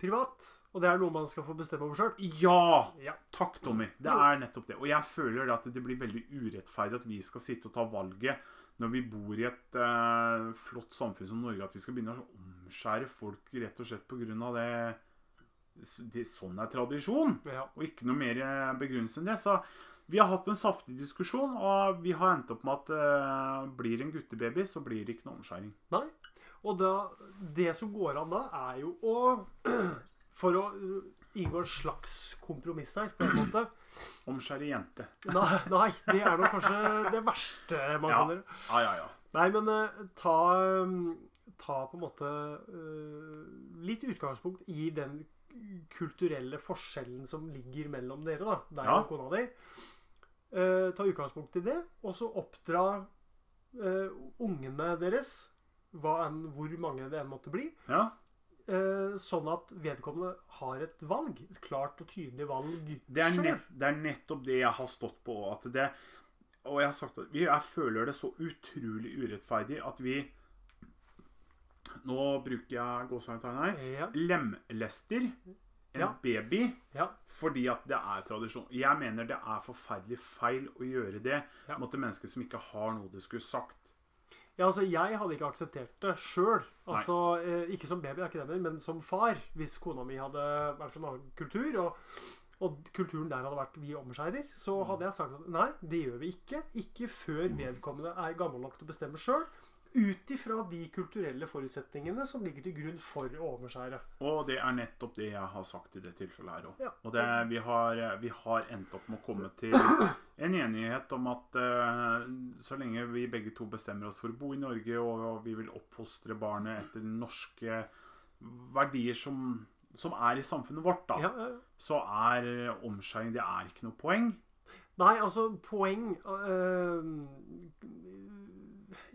A: Privat. Og det er noe man skal få bestemme over sjøl.
B: Ja!
A: Ja.
B: Takk, Tommy. Det er nettopp det. Og jeg føler det at det blir veldig urettferdig at vi skal sitte og ta valget når vi bor i et eh, flott samfunn som Norge, at vi skal begynne å omskjære folk rett og slett pga. det, det Sånn er tradisjon.
A: ja.
B: og ikke noe mer eh, begrunnelse enn det. Så vi har hatt en saftig diskusjon, og vi har endt opp med at eh, blir det en guttebaby, så blir det ikke noe omskjæring.
A: Nei. Og da, det som går an da, er jo å For å uh, inngå en slags kompromiss her, på en måte.
B: Omskjære jente.
A: Nei, nei det er nok kanskje det verste man
B: Ja.
A: kan gjøre.
B: Ja, ja, ja.
A: Nei, men eh, ta um, Ta på en måte eh, litt utgangspunkt i den kulturelle forskjellen som ligger mellom dere, da. Deg
B: Ja.
A: og kona di. Eh, ta utgangspunkt i det, og så oppdra eh, ungene deres, hva enn, hvor mange det enn måtte bli,
B: ja.
A: eh, sånn at vedkommende har et valg. Et klart og tydelig valg.
B: Det, er
A: selv.
B: nett, det er nettopp det jeg har stått på. At det, og jeg har sagt at vi- jeg føler det så utrolig urettferdig at vi Nå bruker jeg gåseøynetegn her.
A: Ja,
B: Lemlester en
A: Ja.
B: baby
A: ja,
B: Fordi at det er tradisjon. Jeg mener det er forferdelig feil å gjøre det
A: Ja.
B: mot et menneske som ikke har noe det skulle sagt.
A: ja, altså jeg hadde ikke akseptert det sjøl. Altså, eh, ikke som baby, er ikke det, jeg mener, men som far. Hvis kona mi hadde vært fra en annen kultur, og, og kulturen der hadde vært vi omskjærer, så hadde jeg sagt at nei, det gjør vi ikke. Ikke før vedkommende er gammel nok til å bestemme sjøl. Ut ifra de kulturelle forutsetningene som ligger til grunn for å omskjære.
B: Og det er nettopp det jeg har sagt i det tilfellet her òg.
A: Ja.
B: Og det, vi, har, vi har endt opp med å komme til en enighet om at eh, så lenge vi begge to bestemmer oss for å bo i Norge, og vi vil oppfostre barnet etter norske verdier som, som er i samfunnet vårt, da,
A: Ja, eh, ja.
B: så er eh, omskjæring det er ikke noe poeng.
A: Nei, altså, poeng øh,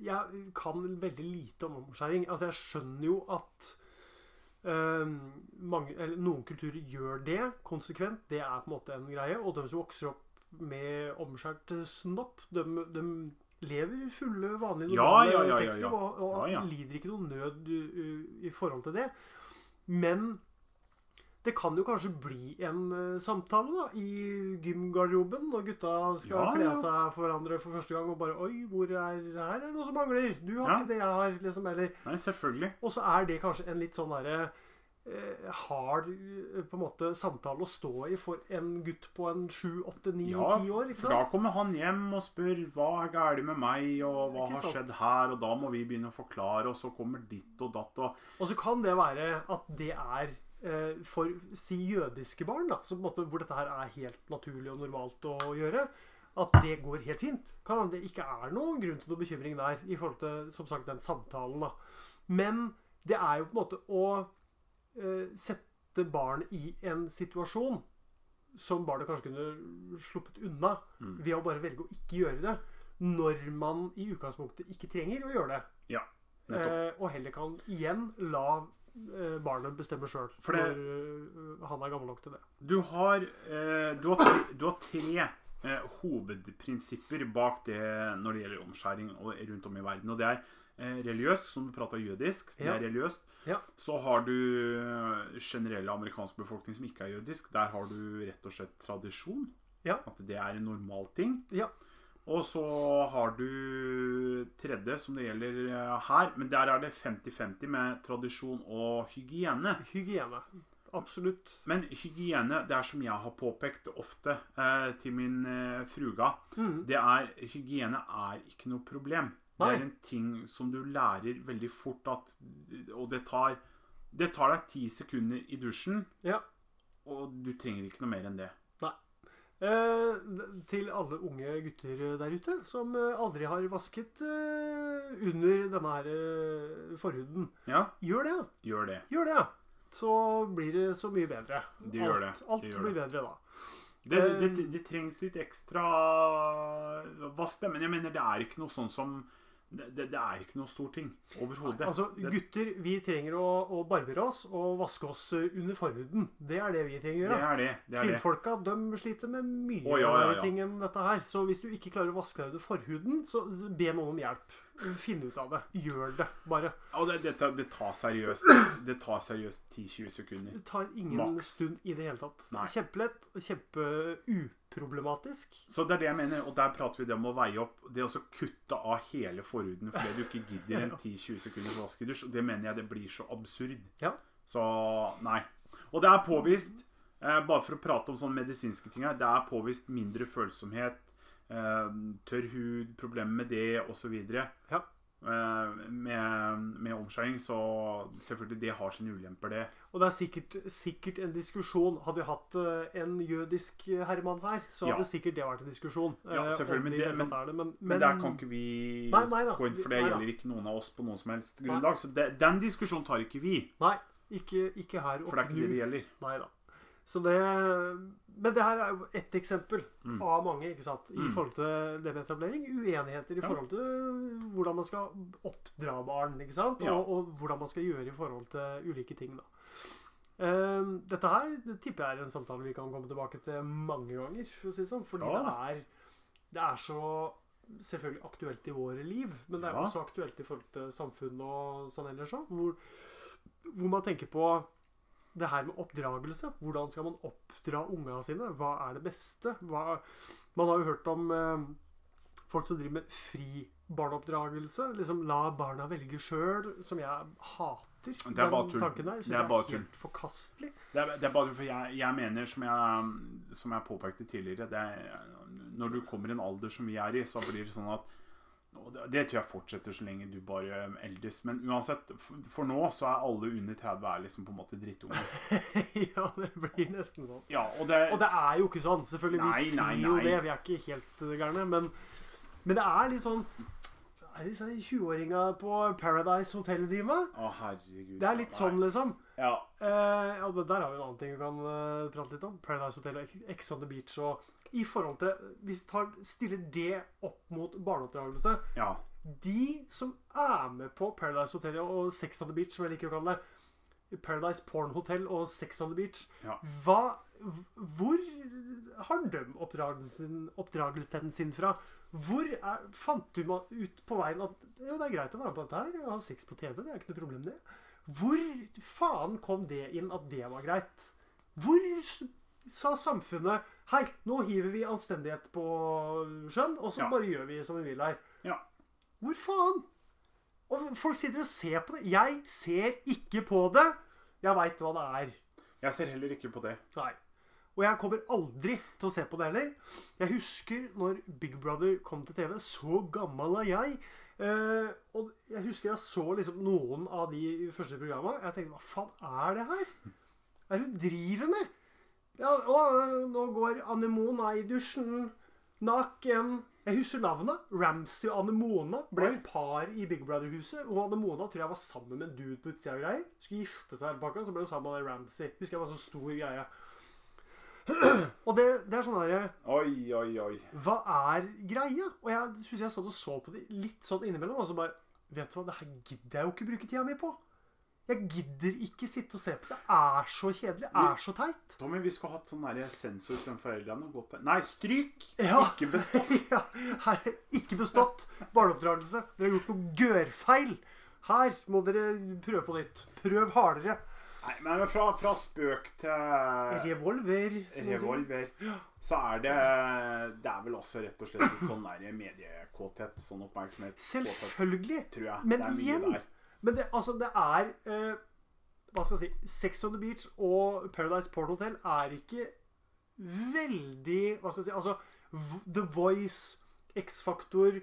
A: Jeg kan veldig lite om omskjæring. Altså, jeg skjønner jo at øh, mange, eller, noen kulturer gjør det konsekvent. Det er på en måte en greie. Og de som vokser opp med omskjært snopp, de, de lever fulle, vanlige,
B: Ja,
A: normale
B: ja, ja, ja, ja.
A: 60 og, og
B: Ja, ja.
A: lider ikke noe nød øh, i forhold til det. Men det kan jo kanskje bli en eh, samtale da, i gymgarderoben når gutta skal
B: Ja,
A: kle
B: ja.
A: seg for hverandre for første gang og bare Oi, hvor er her er det noe som mangler? Du har
B: Ja.
A: ikke det jeg har, liksom. Eller
B: Nei, selvfølgelig.
A: Og så er det kanskje en litt sånn derre eh, hard eh, på en måte samtale å stå i for en gutt på en sju, åtte, ni,
B: Ja,
A: ti år. ikke
B: for da
A: sant?
B: kommer han hjem og spør hva er galt med meg, og hva
A: Ikke
B: har
A: sant?
B: skjedd her, og da må vi begynne å forklare, og så kommer ditt og datt og
A: Og så kan det være at det er eh, for si jødiske barn, da, som på en måte, hvor dette her er helt naturlig og normalt å gjøre. at det går helt fint. Kan hende det ikke er noen grunn til noe bekymring der i forhold til som sagt, den samtalen. da. Men det er jo på en måte å eh, sette barn i en situasjon som barnet kanskje kunne sluppet unna
B: Mm.
A: ved å bare velge å ikke gjøre det. Når man i utgangspunktet ikke trenger å gjøre det.
B: Ja, nettopp.
A: Eh, og heller kan igjen la eh, barnet bestemme sjøl
B: For
A: når
B: det-
A: eh, han er gammel nok til det.
B: Du har, eh, du har, tre, du har tre eh, hovedprinsipper bak det når det gjelder omskjæring og rundt om i verden. Og det er eh, religiøst, som du prata jødisk. Det
A: Ja.
B: er religiøst.
A: Ja.
B: Så har du eh, generell amerikansk befolkning som ikke er jødisk. Der har du rett og slett tradisjon.
A: Ja.
B: At det er en normal ting.
A: Ja.
B: Og så har du tredje, som det gjelder eh, her. Men der er det 50-50 med tradisjon og hygiene.
A: Hygiene. Absolutt.
B: Men hygiene, det er som jeg har påpekt ofte eh, til min eh, fruga,
A: Mhm.
B: det er hygiene er ikke noe problem. Det
A: Nei.
B: er en ting som du lærer veldig fort at Og det tar, det tar deg ti sekunder i dusjen,
A: Ja.
B: og du trenger ikke noe mer enn det.
A: Eh, til alle unge gutter der ute som eh, aldri har vasket eh, under denne her eh, forhuden.
B: Ja,
A: Gjør det,
B: gjør det.
A: gjør det! Så blir det så mye bedre.
B: Det gjør det.
A: alt alt
B: Det gjør
A: blir bedre da.
B: Det, det,
A: Eh.
B: det, det trengs litt ekstra vask, det, men jeg mener det er ikke noe sånn som Det, det det er ikke noe stor ting overhodet.
A: Altså,
B: Det-
A: gutter, vi trenger å, å barbere oss og vaske oss eh, under forhuden. Det er det vi trenger å
B: Det
A: gjøre.
B: er det. det, er det.
A: Kvinnfolka de sliter med mye
B: Å, ja, ja,
A: verre
B: ja.
A: ting enn dette her. Så hvis du ikke klarer å vaske deg under forhuden, så be noen om hjelp. Finn ut av det. Gjør det, bare.
B: Ja, det, det, tar- det tar seriøst Det tar seriøst 10-20 sekunder.
A: Det tar ingen
B: Maks.
A: stund i det hele tatt.
B: Nei.
A: Kjempelett og kjempeuproblematisk.
B: Så det er det jeg mener, og der prater vi det om å veie opp Det å så kutte av hele forhuden fordi du ikke gidder en 10-20 sekunders vaskedusj. Og det mener jeg det blir så absurd.
A: Ja.
B: Så nei. Og det er påvist, eh, bare for å prate om sånne medisinske ting her, det er påvist mindre følsomhet, eh, tørr hud, problemer med det osv.
A: Ja.
B: Eh, med, med omskjæring, så selvfølgelig det har sine ulemper, det.
A: Og det er sikkert, sikkert en diskusjon. Hadde vi hatt eh, en jødisk herremann her, så hadde
B: Ja.
A: sikkert det vært en diskusjon.
B: Ja,
A: eh,
B: selvfølgelig,
A: om
B: men
A: i
B: det-
A: hele
B: men-
A: tatt er det, men,
B: Men, der kan ikke vi
A: Nei, nei da.
B: gå inn, for det
A: Nei da.
B: gjelder ikke noen av oss på noen som helst grunnlag. Så det, den diskusjonen tar ikke vi,
A: Nei, ikke, ikke her og
B: for det er ikke det det gjelder.
A: Nei da. Så det, men det her er jo ett eksempel
B: Mm.
A: av mange ikke sant? i
B: Mm.
A: forhold til det med etablering. Uenigheter i
B: Ja.
A: forhold til hvordan man skal oppdra barn, ikke sant?
B: Ja.
A: Og, og hvordan man skal gjøre i forhold til ulike ting. da. Ehm, dette her det tipper jeg er en samtale vi kan komme tilbake til mange ganger. For å si det sånn, fordi
B: Ja.
A: det, er, det er så selvfølgelig aktuelt i våre liv, men det er
B: Ja.
A: også aktuelt i forhold til samfunnet og sånn ellers òg. Hvor, hvor man tenker på det her med oppdragelse. Hvordan skal man oppdra unga sine? Hva er det beste? Hva, man har jo hørt om eh, folk som driver med fri barneoppdragelse. Liksom la barna velge sjøl, som jeg hater.
B: Det er bare tull.
A: tanken der.
B: Det
A: Syns
B: er
A: jeg
B: bare
A: er
B: tull.
A: helt forkastelig.
B: Det er, det er bare for jeg, jeg mener, som jeg, som jeg påpekte tidligere det er, Når du kommer i en alder som vi er i, så blir det sånn at og det- Det tror jeg fortsetter så lenge du bare eldes. Men uansett, for, for nå så er alle under 30 er liksom på en måte drittunger.
A: ja, det blir nesten sånn.
B: Ja, og det,
A: Og det er jo ikke sånn. Selvfølgelig,
B: Nei,
A: vi sier
B: nei,
A: jo
B: nei.
A: det. Vi er ikke helt eh, gærne. Men, men det er litt sånn det er disse 20-åringa på Paradise Hotel driver med.
B: Å, herregud.
A: Det er litt sånn, liksom.
B: Ja.
A: Eh, ja, det- der har vi en annen ting vi kan eh, prate litt om. Paradise Hotel og Ex on the Beach. Og i forhold til, Hvis vi tar, stiller det opp mot barneoppdragelse
B: ja.
A: De som er med på Paradise Hotel og Sex on the Beach, som jeg liker å kalle det Paradise Porn Hotel og Sex on the Beach
B: Ja.
A: hva, Hvor har de oppdragelsen, oppdragelsen sin fra? Hvor er, fant du ma- ut på veien at jo, det er greit å være med på dette her og ha sex på TV? Det er ikke noe problem, det. Hvor faen kom det inn at det var greit? Hvor s- sa samfunnet Hei, nå hiver vi anstendighet på sjøen, og så
B: Ja.
A: bare gjør vi som vi vil her.
B: Ja.
A: Hvor faen? Og folk sitter og ser på det. Jeg ser ikke på det. Jeg veit hva det er.
B: Jeg ser heller ikke på det.
A: Nei. Og jeg kommer aldri til å se på det heller. Jeg husker når Big Brother kom til TV. Så gammel er jeg. Eh, og jeg husker jeg så liksom noen av de første programma. Jeg tenkte hva faen er det her? Hva er det hun driver med? Ja, å, nå går anemon er i dusjen. Naken Jeg husker navnet. Ramsey og Anemona ble
B: Oi.
A: et par i Big Brother-huset. Og Anemona tror jeg var sammen med en dude på utsida og greier. Skulle gifte seg hele pakka, så ble hun sammen med Ramsey. Husker jeg var så stor greie. og det, det er sånn derre
B: Oi, oi, oi.
A: hva er greia? Og jeg husker jeg satt og så på det litt sånn innimellom, og så bare Vet du hva, det her gidder jeg jo ikke bruke tida mi på. Jeg gidder ikke sitte og se på det. Det er så kjedelig. Det er så teit.
B: Tommy, vi skulle hatt sånn der sensor som foreldrene. Godt. Nei, stryk!
A: Ja.
B: Ikke bestått.
A: ja, her er ikke bestått barneoppdragelse. Dere har gjort noe gørrfeil. Her må dere prøve på nytt. Prøv hardere.
B: Nei, men fra, fra spøk til
A: Revolver. som man sier.
B: revolver, så er det Det er vel også rett og slett litt sånn der mediekåthet. Sånn oppmerksomhet.
A: Selvfølgelig.
B: Tror jeg.
A: Men
B: det er mye
A: igjen-
B: der.
A: Men det, altså, det er eh, Hva skal jeg si Sex on the Beach og Paradise Port Hotel er ikke veldig Hva skal jeg si Altså, v- The Voice, X-Factor,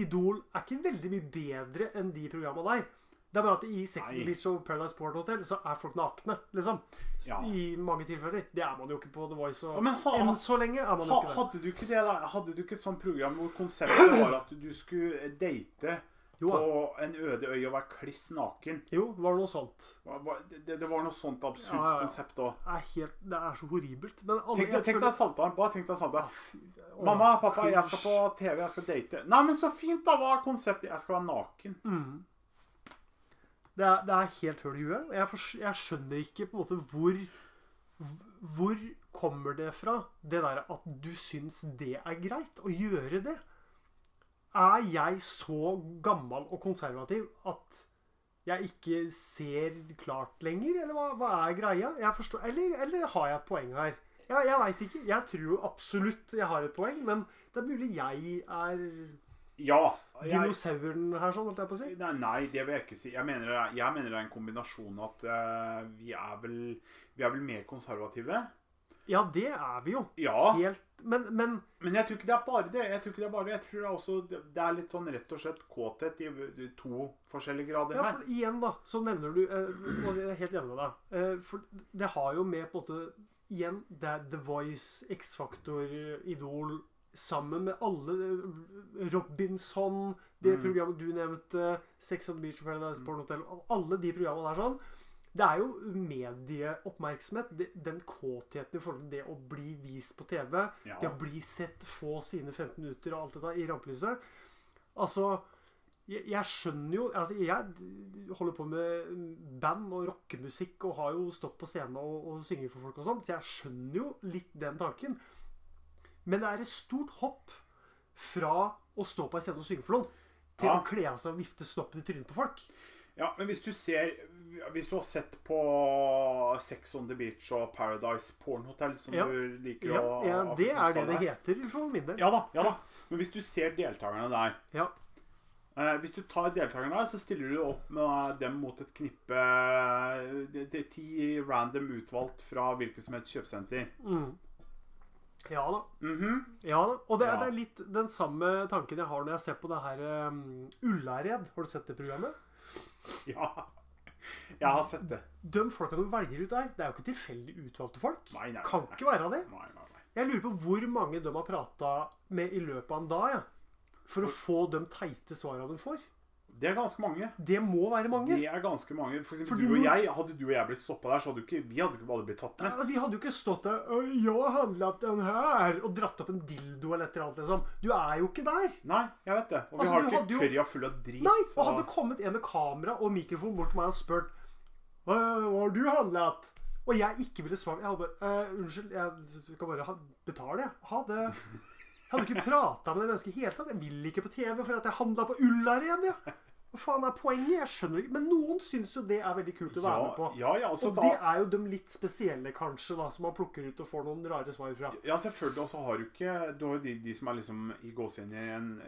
A: Idol er ikke veldig mye bedre enn de programma der. Det er bare at i Sex on
B: Nei.
A: the Beach og Paradise Port Hotel så er folk nakne, liksom. S-
B: Ja.
A: I mange tilfeller. Det er man jo ikke på The Voice.
B: Ja,
A: Og
B: men ha,
A: enn så lenge er man jo
B: ha,
A: ikke det.
B: hadde du ikke det, da? Hadde du ikke et sånt program hvor konseptet var at du skulle date
A: Jo,
B: på
A: da.
B: en øde øy og være kliss naken?
A: jo, var det noe sånt.
B: Hva- hva- Det, det var noe sånt absurd
A: Ja, ja, ja.
B: konsept òg.
A: Det er, helt, det er så horribelt. Men alle,
B: Tenk, deg-
A: jeg
B: tenk
A: føler-
B: deg samtalen. Bare tenk deg samtalen.
A: Åh,
B: Mamma, pappa, jeg skal på
A: cringe.
B: TV, jeg skal date. Nei, men så fint, da! Hva er konseptet? Jeg skal være naken.
A: Mm. Det, er, det er helt høl i huet. og Jeg, fors- jeg skjønner ikke på en måte hvor hv- Hvor kommer det fra, det der at du syns det er greit å gjøre det? Er jeg så gammel og konservativ at jeg ikke ser klart lenger, eller hva, hva er greia? Jeg forstår, eller, eller har jeg et poeng her? Jeg, jeg veit ikke. Jeg tror jo absolutt jeg har et poeng, men det er mulig jeg er
B: Ja. Jeg,
A: dinosauren her, sånn, holdt jeg på å si.
B: nei, nei, det vil jeg ikke si. Jeg mener, det er- jeg mener det er en kombinasjon at eh, vi, er vel, vi er vel mer konservative.
A: Ja, det er vi jo.
B: Ja.
A: Helt, men, men
B: Men jeg tror ikke det er bare det. Jeg tror ikke det er bare det. Jeg tror det er også det er litt sånn rett og slett kåthet i to forskjellige grader
A: ja,
B: her.
A: for igjen, da, så nevner du eh, Og jeg er helt enig med deg. eh, For det har jo med på en måte Igjen, det er The Voice, X-Factor, Idol Sammen med alle eh, Robinson, det
B: Mm.
A: programmet du nevnte, Sex on the Beach, Paradise, Porn Hotel Alle de programmene der sånn. Det er jo medieoppmerksomhet. det- Den kåtheten i forhold til det å bli vist på TV.
B: Ja.
A: Det å bli sett, få sine 15 minutter og alt dette i rampelyset. Altså, jeg, jeg skjønner jo altså Jeg d- holder på med band og rockemusikk og har jo stått på scenen og, og synger for folk og sånn, så jeg skjønner jo litt den tanken. Men det er et stort hopp fra å stå på en scene og synge for noen, til
B: Ja.
A: å kle av seg og vifte snoppen i trynet på folk.
B: ja, men hvis du ser Hvis du har sett på Sex on the Beach og Paradise Porn Hotel, som
A: Ja.
B: du liker
A: Ja,
B: å
A: ja, det er det
B: kalle
A: det heter for min del.
B: Ja da, ja da. Men hvis du ser deltakerne der
A: Ja.
B: eh, Hvis du tar deltakerne der, så stiller du opp med eh, dem mot et knippe eh, det- det er Ti random utvalgt fra hvilket som helst kjøpesenter.
A: Mm. ja da.
B: Mhm.
A: Ja da. Og det er,
B: Ja.
A: det er litt den samme tanken jeg har når jeg ser på det her um, Ullared. Har du sett det programmet?
B: Ja. Jeg har sett det.
A: De folka du velger ut der, det er jo ikke tilfeldig utvalgte folk.
B: Nei, nei, nei.
A: Kan ikke være det.
B: Nei, nei, nei.
A: Jeg lurer på hvor mange de har prata med i løpet av en dag, ja. For å få de teite svara de får.
B: Det er ganske mange.
A: Det må være mange.
B: Det er ganske mange. For eksempel
A: Fordi
B: du og
A: nå-
B: jeg, hadde du og jeg blitt stoppa der, så hadde du ikke, vi hadde ikke alle blitt tatt med.
A: Altså, Vi hadde jo ikke stått der «Å, 'Jeg har handlet den her' og dratt opp en dildo eller et eller annet, liksom. Du er jo ikke der.
B: Nei, jeg vet det. Og vi
A: Altså, du
B: har ikke
A: hadde jo-
B: kørja full av drit.
A: Nei,
B: så-
A: og hadde kommet en med kamera og mikrofon bort til meg og spurt Hva hva har du handlet? Og jeg ikke ville svart. Jeg hadde bare «Eh, Unnskyld, jeg skal bare ha, betale, jeg. Ha det. Jeg hadde ikke prata med det mennesket i det hele tatt. Jeg vil ikke på TV for at jeg handla på Ullared, jeg. Hva faen er poenget? Jeg skjønner ikke. Men noen syns jo det er veldig kult å være med på.
B: ja, ja, ja, så
A: Og
B: da,
A: det er jo de litt spesielle, kanskje, da, som man plukker ut og får noen rare svar fra.
B: ja, selvfølgelig. Og så har du ikke Du har jo de, de som er liksom i gåsehendene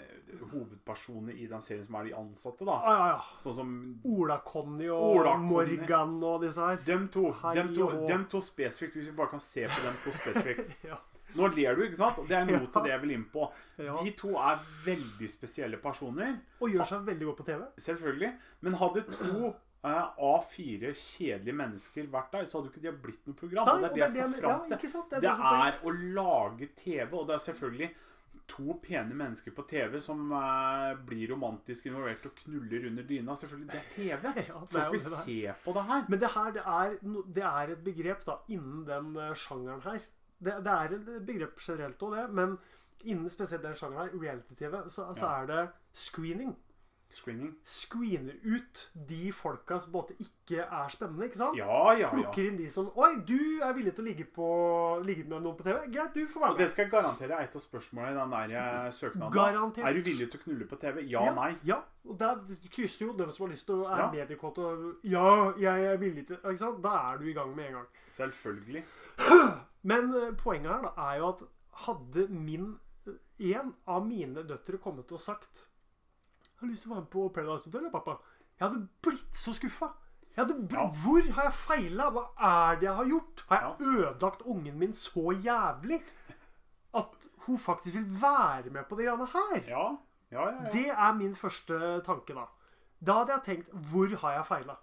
B: hovedpersonene i den serien som er de ansatte, da.
A: Ja, ja, ja.
B: Sånn som
A: Ola-Conny og
B: Ola-Conny.
A: Morgan og disse her.
B: dem to.
A: Hei
B: Dem to,
A: og-
B: dem to spesifikt, hvis vi bare kan se på dem to spesifikt.
A: Ja.
B: Nå ler du, ikke sant? Og det er noe
A: Ja.
B: til det jeg vil inn på.
A: Ja.
B: De to er veldig spesielle personer.
A: Og gjør seg veldig godt på TV.
B: Selvfølgelig. Men hadde to eh, A4 kjedelige mennesker vært der, så hadde jo ikke det blitt noe program.
A: Nei,
B: og det er det jeg skal
A: jeg-
B: fram
A: ja,
B: til.
A: ikke sant? Det er sånn
B: Det
A: det som er poenget.
B: er å lage TV, og det er selvfølgelig to pene mennesker på TV som eh, blir romantisk involvert og knuller under dyna. Selvfølgelig, det er TV!
A: Ja, det er jo
B: Folk vil
A: det det er.
B: se på det her.
A: Men det her, det er, no- det er et begrep da, innen den eh, sjangeren her. Det, det er et begrep generelt òg, det. Men innen spesielt den sjangeren her, reality-TV, så, så
B: Ja.
A: er det screening.
B: Screening.
A: Screener ut de folka som på en måte ikke er spennende, ikke sant?
B: Ja, ja, ja.
A: Plukker inn de som Oi, du er villig til å ligge, på, ligge med noen på TV. Greit, du får
B: Og
A: være
B: det
A: med.
B: skal jeg garantere er et av spørsmålene i den der eh, søknaden.
A: Garantert.
B: Er du villig til å knulle på TV? Ja, nei.
A: Ja, og der krysser jo dem som har lyst til å er
B: Ja.
A: mediekåte og Ja, jeg er villig til Ikke sant? Da er du i gang med en gang.
B: Selvfølgelig.
A: Men eh, poenget her da, er jo at hadde min en av mine døtre kommet og sagt Jeg har lyst til å være med på Paradise Hotel, ja, pappa. Jeg hadde blitt så skuffa. Jeg hadde bl
B: Ja.
A: Hvor har jeg feila? Hva er det jeg har gjort? Har jeg
B: Ja.
A: ødelagt ungen min så jævlig at hun faktisk vil være med på de greiene her?
B: Ja, ja, ja. ja.
A: Det er min første tanke, da. Da hadde jeg tenkt Hvor har jeg feila?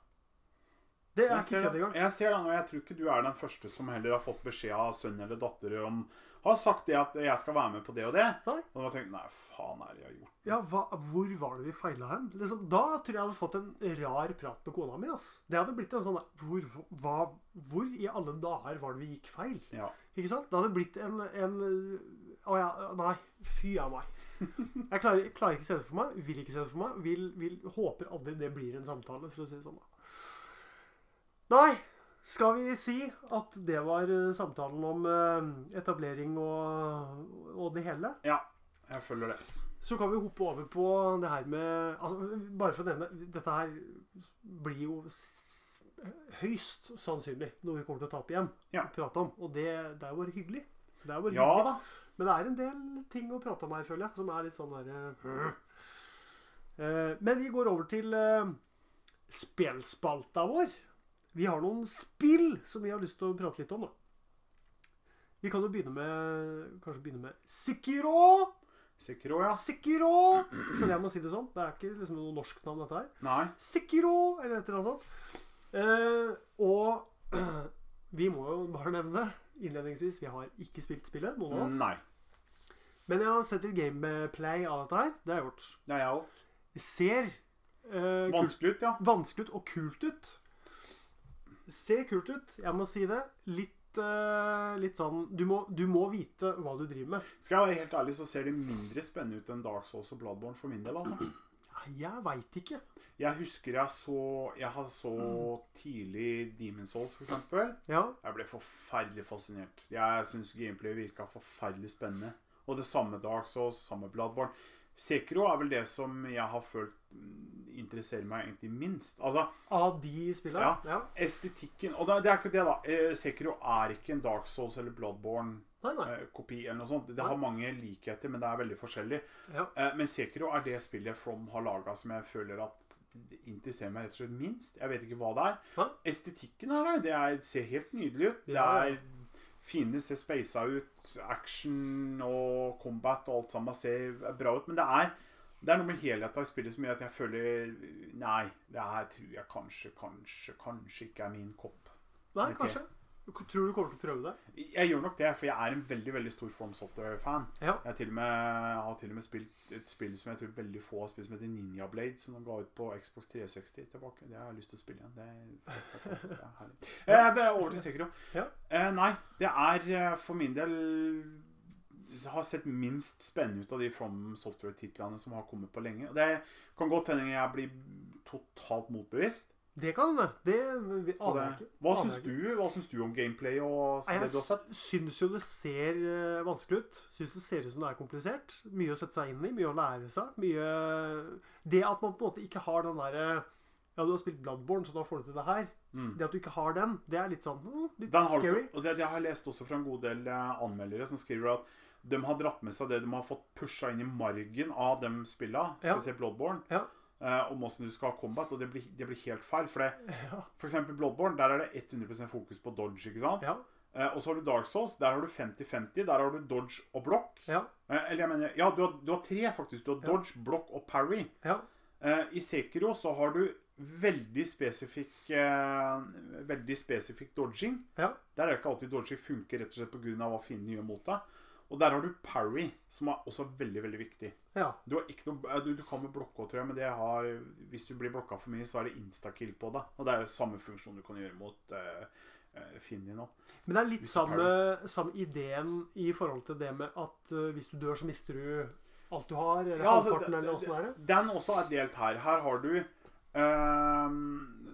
A: Det er
B: Jeg
A: ikke
B: ser,
A: kødd engang.
B: jeg ser den, og jeg tror ikke du er den første som heller har fått beskjed av sønn eller datter om Har sagt det at 'jeg skal være med på det og det'.
A: Nei.
B: Og da tenker jeg 'nei, faen er det jeg har gjort'?
A: Ja, hva, hvor var det vi feila hen? Liksom, da tror jeg jeg hadde fått en rar prat med kona mi. ass. Det hadde blitt en sånn hvor, hva, hvor i alle dager var det vi gikk feil?
B: Ja.
A: Ikke sant? Det hadde blitt en, en Å ja, nei. Fy a meg. Jeg klarer, jeg klarer ikke se det for meg. Vil ikke se det for meg. Vil, vil, håper aldri det blir en samtale, for å si det sånn. da. Nei, skal vi si at det var eh, samtalen om eh, etablering og, og det hele?
B: ja. Jeg følger det.
A: Så kan vi hoppe over på det her med altså, Bare for å nevne Dette her blir jo s- høyst sannsynlig noe vi kommer til å ta opp igjen.
B: Ja.
A: og Prate om, Og det, det er jo bare hyggelig. Det er bare
B: Ja
A: hyggelig.
B: da.
A: Men det er en del ting å prate om her, føler jeg, som er litt sånn derre Eh, Men vi går over til eh, spillspalta vår. Vi har noen spill som vi har lyst til å prate litt om, da. Vi kan jo begynne med Kanskje begynne med Sikkerå.
B: Sikro, ja.
A: Sikiro! Føler jeg må si det sånn. Det er ikke liksom noe norsk navn, dette her.
B: Nei.
A: Sikiro, eller et eller annet sånt. Eh, og vi må jo bare nevne innledningsvis vi har ikke spilt spillet, noen av oss.
B: Nei.
A: Men jeg har sett litt gameplay av dette her. Det har jeg gjort.
B: Det er jeg òg.
A: Det ser eh, kult,
B: Vanskelig ut, ja.
A: vanskelig ut og kult ut. Ser kult ut, jeg må si det. Litt, eh, litt sånn du må, du må vite hva du driver med.
B: Skal jeg være helt ærlig, så ser det mindre spennende ut enn Dark Souls og Bloodborne for min del. altså.
A: Nei, Jeg veit ikke.
B: Jeg husker jeg så Jeg har så tidlig Demon Souls, for eksempel.
A: Ja,
B: Jeg ble forferdelig fascinert. Jeg syns gameplayet virka forferdelig spennende. Og det samme Dark Souls, samme Bloodborne. Sekiro er vel det som jeg har følt mm, interesserer meg egentlig minst. Altså,
A: Av de spillene?
B: Ja. estetikken Og det det er ikke det, da. Eh, Sekiro er ikke en Dark Souls eller Bloodborne-kopi
A: Nei, nei.
B: eller noe sånt. Det har mange likheter, men det er veldig forskjellig.
A: Ja.
B: Eh, Men Sekiro er det spillet From har laga som jeg føler at interesserer meg rett og slett minst. Jeg vet ikke hva det er.
A: Hæ?
B: Estetikken er der. Det er, ser helt nydelig ut. Det
A: Ja, ja.
B: er fine, ser speisa ut. Action og combat og alt sammen ser bra ut. Men det er, det er noe med helheten i spillet som gjør at jeg føler Nei, det her tror jeg kanskje, kanskje, kanskje ikke er min kopp.
A: Nei,
B: Litt
A: kanskje. Tror du kommer til å prøve det?
B: Jeg gjør nok det, for jeg er en veldig veldig stor From Software-fan.
A: Ja.
B: Jeg har til og med, har til og med spilt et spill som jeg tror veldig få har spilt, som heter Ninja Blade, som de ga ut på Xbox 360 tilbake. Det har jeg lyst til å spille igjen. Det er, fantastisk, det er herlig. Eh, men over til Sekiro.
A: Ja.
B: Eh, nei, det er eh, for min del jeg har sett minst spennende ut av de From Software-titlene som har kommet på lenge. Og Det kan godt hende jeg blir totalt motbevist.
A: Det kan det. Det vi-
B: Så
A: aner jeg
B: det,
A: ikke.
B: hva
A: Aner
B: syns
A: jeg
B: du, hva syns du om gameplay og
A: Nei,
B: det du har sett?
A: Jeg syns jo det ser eh, vanskelig ut. Syns det ser ut som det er komplisert. Mye å sette seg inn i, mye å lære seg. Mye Det at man på en måte ikke har den derre Ja, du har spilt Bloodborne, så da får du til det her.
B: Mm.
A: Det at du ikke har den, det er litt sånn mm, litt
B: Den har du
A: scary.
B: ikke- og det, det har jeg lest også fra en god del eh, anmeldere som skriver at de har dratt med seg det de har fått pusha inn i margen av de spilla,
A: Ja.
B: spesielt Bloodborne,
A: Ja.
B: eh, om åssen du skal ha combat, og det blir, det blir helt feil. For, det,
A: Ja.
B: for eksempel Bloodborne, der er det 100 fokus på dodge, ikke sant?
A: Ja.
B: Eh, og så har du Dark Souls, der har du 50-50, der har du dodge og blokk.
A: Ja.
B: Eh, eller jeg mener, ja, du har, du har tre faktisk. Du har dodge, blokk og parry.
A: ja.
B: Eh, I Sekiro så har du veldig spesifikk, eh, veldig spesifikk dodging.
A: ja.
B: Der er det ikke alltid dodging funker rett og slett pga. hva fienden gjør mot deg. Og der har du parry, som er også veldig, veldig viktig.
A: Ja.
B: Du, har ikke noe, eh, du, du kan med blokka, tror jeg, men det har, hvis du blir blokka for mye, så er det instakill på deg. Og det er jo samme funksjon du kan gjøre mot eh, eh, Finni nå.
A: Men det er litt
B: Hvis du
A: samme, samme ideen i forhold til det med at eh, hvis du dør, så mister du alt du har, eller
B: Ja, altså,
A: halvparten,
B: det-
A: eller åssen det er.
B: Den også er delt her. Her har du eh,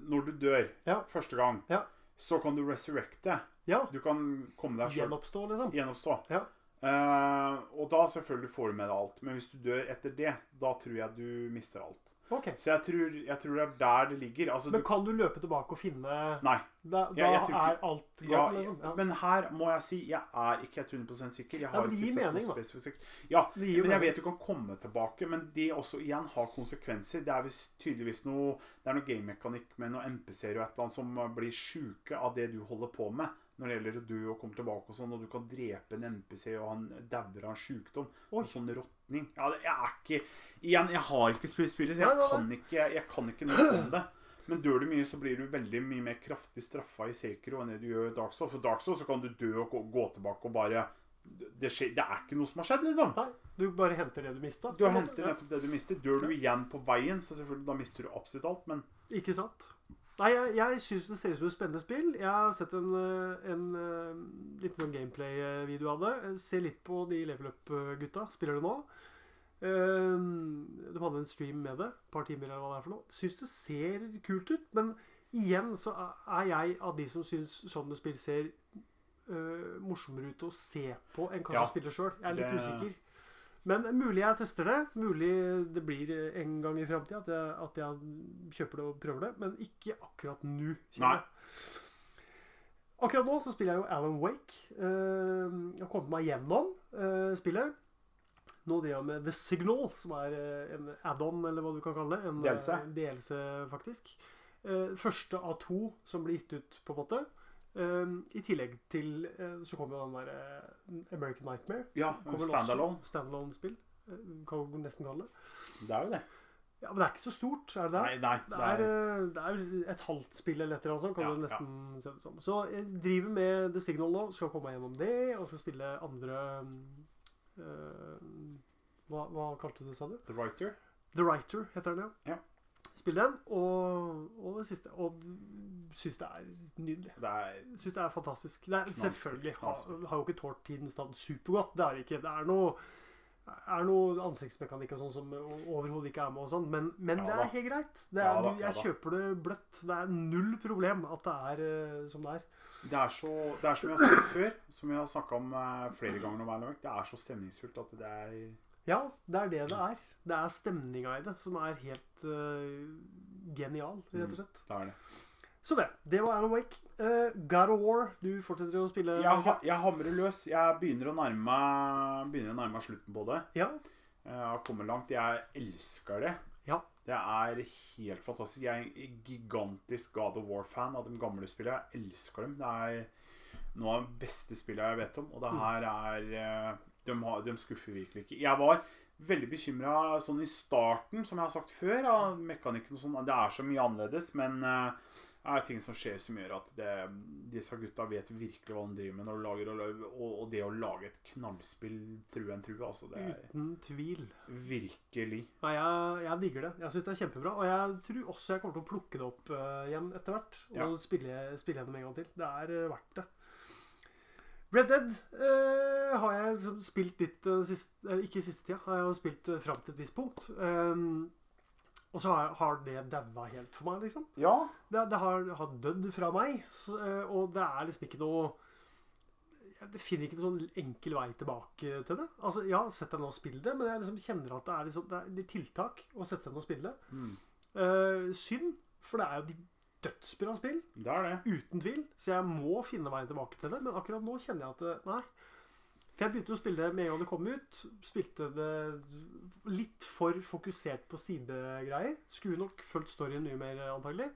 B: Når du dør
A: Ja.
B: første gang,
A: Ja.
B: så kan du resurrecte.
A: Ja.
B: Du kan komme deg sjøl
A: Gjenoppstå, liksom.
B: Gjenoppstå.
A: Ja.
B: Eh, og da selvfølgelig får du med deg alt. Men hvis du dør etter det, da tror jeg du mister alt.
A: Ok.
B: Så jeg tror, jeg tror det er der det ligger. Altså,
A: Men
B: du,
A: kan du løpe tilbake og finne Da,
B: nei.
A: da
B: Ja, jeg tror ikke-
A: er alt godt,
B: Ja,
A: liksom. Ja.
B: Men her må jeg si jeg er ikke 100 sikker. Jeg
A: Ja,
B: har
A: men det
B: ikke
A: gir
B: sett noe
A: mening, da.
B: spesifikt sikkert. Ja,
A: Det gir jo
B: men jeg
A: mening.
B: vet du kan komme tilbake, men det også igjen har konsekvenser. Det er visst tydeligvis noe Det er noe gamemekanikk med noen MPC-er og et eller annet som eh, blir sjuke av det du holder på med. Når det gjelder å dø og komme tilbake og sånn, og du kan drepe en NPC og han dauer av en sjukdom.
A: Oi.
B: En sånn råtning. Ja, det- jeg er ikke Igjen, jeg har ikke spilt spillet, så
A: Nei,
B: jeg
A: nei,
B: kan ikke, jeg kan ikke noe om det. Men dør du mye, så blir du veldig mye mer kraftig straffa i Sekiro enn det du gjør i Dark Souls. For Dark Souls så kan du dø og gå, gå tilbake og bare det, skjer, det er ikke noe som har skjedd, liksom.
A: Nei, du bare henter det du mista.
B: Du har hentet nettopp det du mister. Dør du igjen på veien, så selvfølgelig da mister du absolutt alt. Men
A: Ikke sant? Nei, jeg, jeg syns det ser ut som et spennende spill. Jeg har sett en, eh, en eh, liten sånn gameplay-video av det. Jeg Ser litt på de level up-gutta. Spiller det nå. Eh, De hadde en stream med det. Et par timer eller hva det er for noe. Syns det ser kult ut, men igjen så er jeg av de som syns sånne spill ser eh, morsommere ut å se på enn kanskje
B: Ja,
A: å spille sjøl. Jeg er litt
B: det-
A: usikker. Men mulig jeg tester det. Mulig det blir en gang i framtida at, jeg- at jeg kjøper det og prøver det. Men ikke akkurat nå. kjenner
B: Nei.
A: jeg. Akkurat nå så spiller jeg jo Alan Wake. Eh, Jeg har kommet meg gjennom eh, spillet. Nå driver jeg med The Signal, som er eh, en add-on, eller hva du kan kalle det. En eh,
B: DLC.
A: DLC, faktisk. Eh, Første av to som blir gitt ut, på en måte. Eh, I tillegg til eh, så kommer jo den derre American Nightmare.
B: ja,
A: Kommer vel også
B: standalone.
A: Standalone-spill. eh, Kan jo nesten kalle det.
B: Det er jo det.
A: Ja, Men det er ikke så stort, er det det?
B: Nei, nei.
A: Det er, eh, det er et halvt spill eller et eller annet sånt, kan
B: Ja,
A: du nesten se det som. Så jeg driver med The Signal nå, skal komme meg gjennom det, og skal spille andre eh, hva, hva kalte du det, sa du?
B: The Writer.
A: The Writer heter den, ja.
B: Ja.
A: Spill den, og, og det siste. Og syns det er nydelig.
B: Det er
A: Syns det er fantastisk. Det er,
B: Knallspill,
A: selvfølgelig har,
B: knallspill.
A: har jo ikke tålt tidens stand supergodt. Det er det ikke. Det er noe, er noe ansiktsmekanikk og sånn som overhodet ikke er med, og sånn, men, men
B: Ja
A: det
B: da.
A: er helt greit. Det er,
B: Ja da, ja
A: jeg
B: da.
A: kjøper det bløtt. Det er null problem at det er eh, som det er.
B: Det er, så, det er som jeg har sagt før, som jeg har snakka om eh, flere ganger om Alan Wake, det er så stemningsfullt at det er
A: Ja, det er det det er. Det er stemninga i det som er helt eh, genial, rett og slett.
B: Det er det.
A: Så det. Det var Alan Wake. Eh, God of War, du fortsetter å spille?
B: Jeg, ha- jeg hamrer løs. Jeg begynner å nærme meg, begynner å nærme meg slutten på det.
A: ja.
B: Jeg Eh, har kommet langt. Jeg elsker det.
A: Ja.
B: Det er helt fantastisk. Jeg er en gigantisk God of War-fan av de gamle spillene. Jeg elsker dem. Det er noe av de beste spillene jeg vet om. Og det her er eh, De, har, de skuffer virkelig ikke. Jeg var veldig bekymra sånn i starten, som jeg har sagt før, av mekanikken og sånn. Det er så mye annerledes, men eh, det er ting som skjer som gjør at det, disse gutta vet virkelig hva de driver med når de lager og lager. Og, og det å lage et knallspill true enn true, altså det er
A: Uten tvil.
B: Virkelig.
A: Nei, jeg, jeg digger det. Jeg syns det er kjempebra. Og jeg tror også jeg kommer til å plukke det opp eh, igjen etter hvert. Og
B: Ja.
A: spille, spille gjennom en gang til. Det er eh, verdt det. Red Dead eh, har jeg liksom spilt litt eh, sist- eh, Ikke siste tida, har jeg jo spilt eh, fram til et visst punkt. Ehm, og så har, har det daua helt for meg, liksom.
B: Ja.
A: Det, det har, har dødd fra meg, så, eh, og det er liksom ikke noe jeg finner ikke noen sånn enkel vei tilbake til det. Altså, Ja, sett deg ned og spill det, men jeg liksom kjenner at det er, liksom, det er litt tiltak å sette seg ned og spille det. Eh, synd, for det er jo de dødsbra spill,
B: Det er det.
A: uten tvil. Så jeg må finne veien tilbake til det, men akkurat nå kjenner jeg at det, nei. For jeg begynte jo å spille det med en gang det kom ut. Spilte det litt for fokusert på sidegreier. Skulle nok fulgt storyen mye mer, antagelig.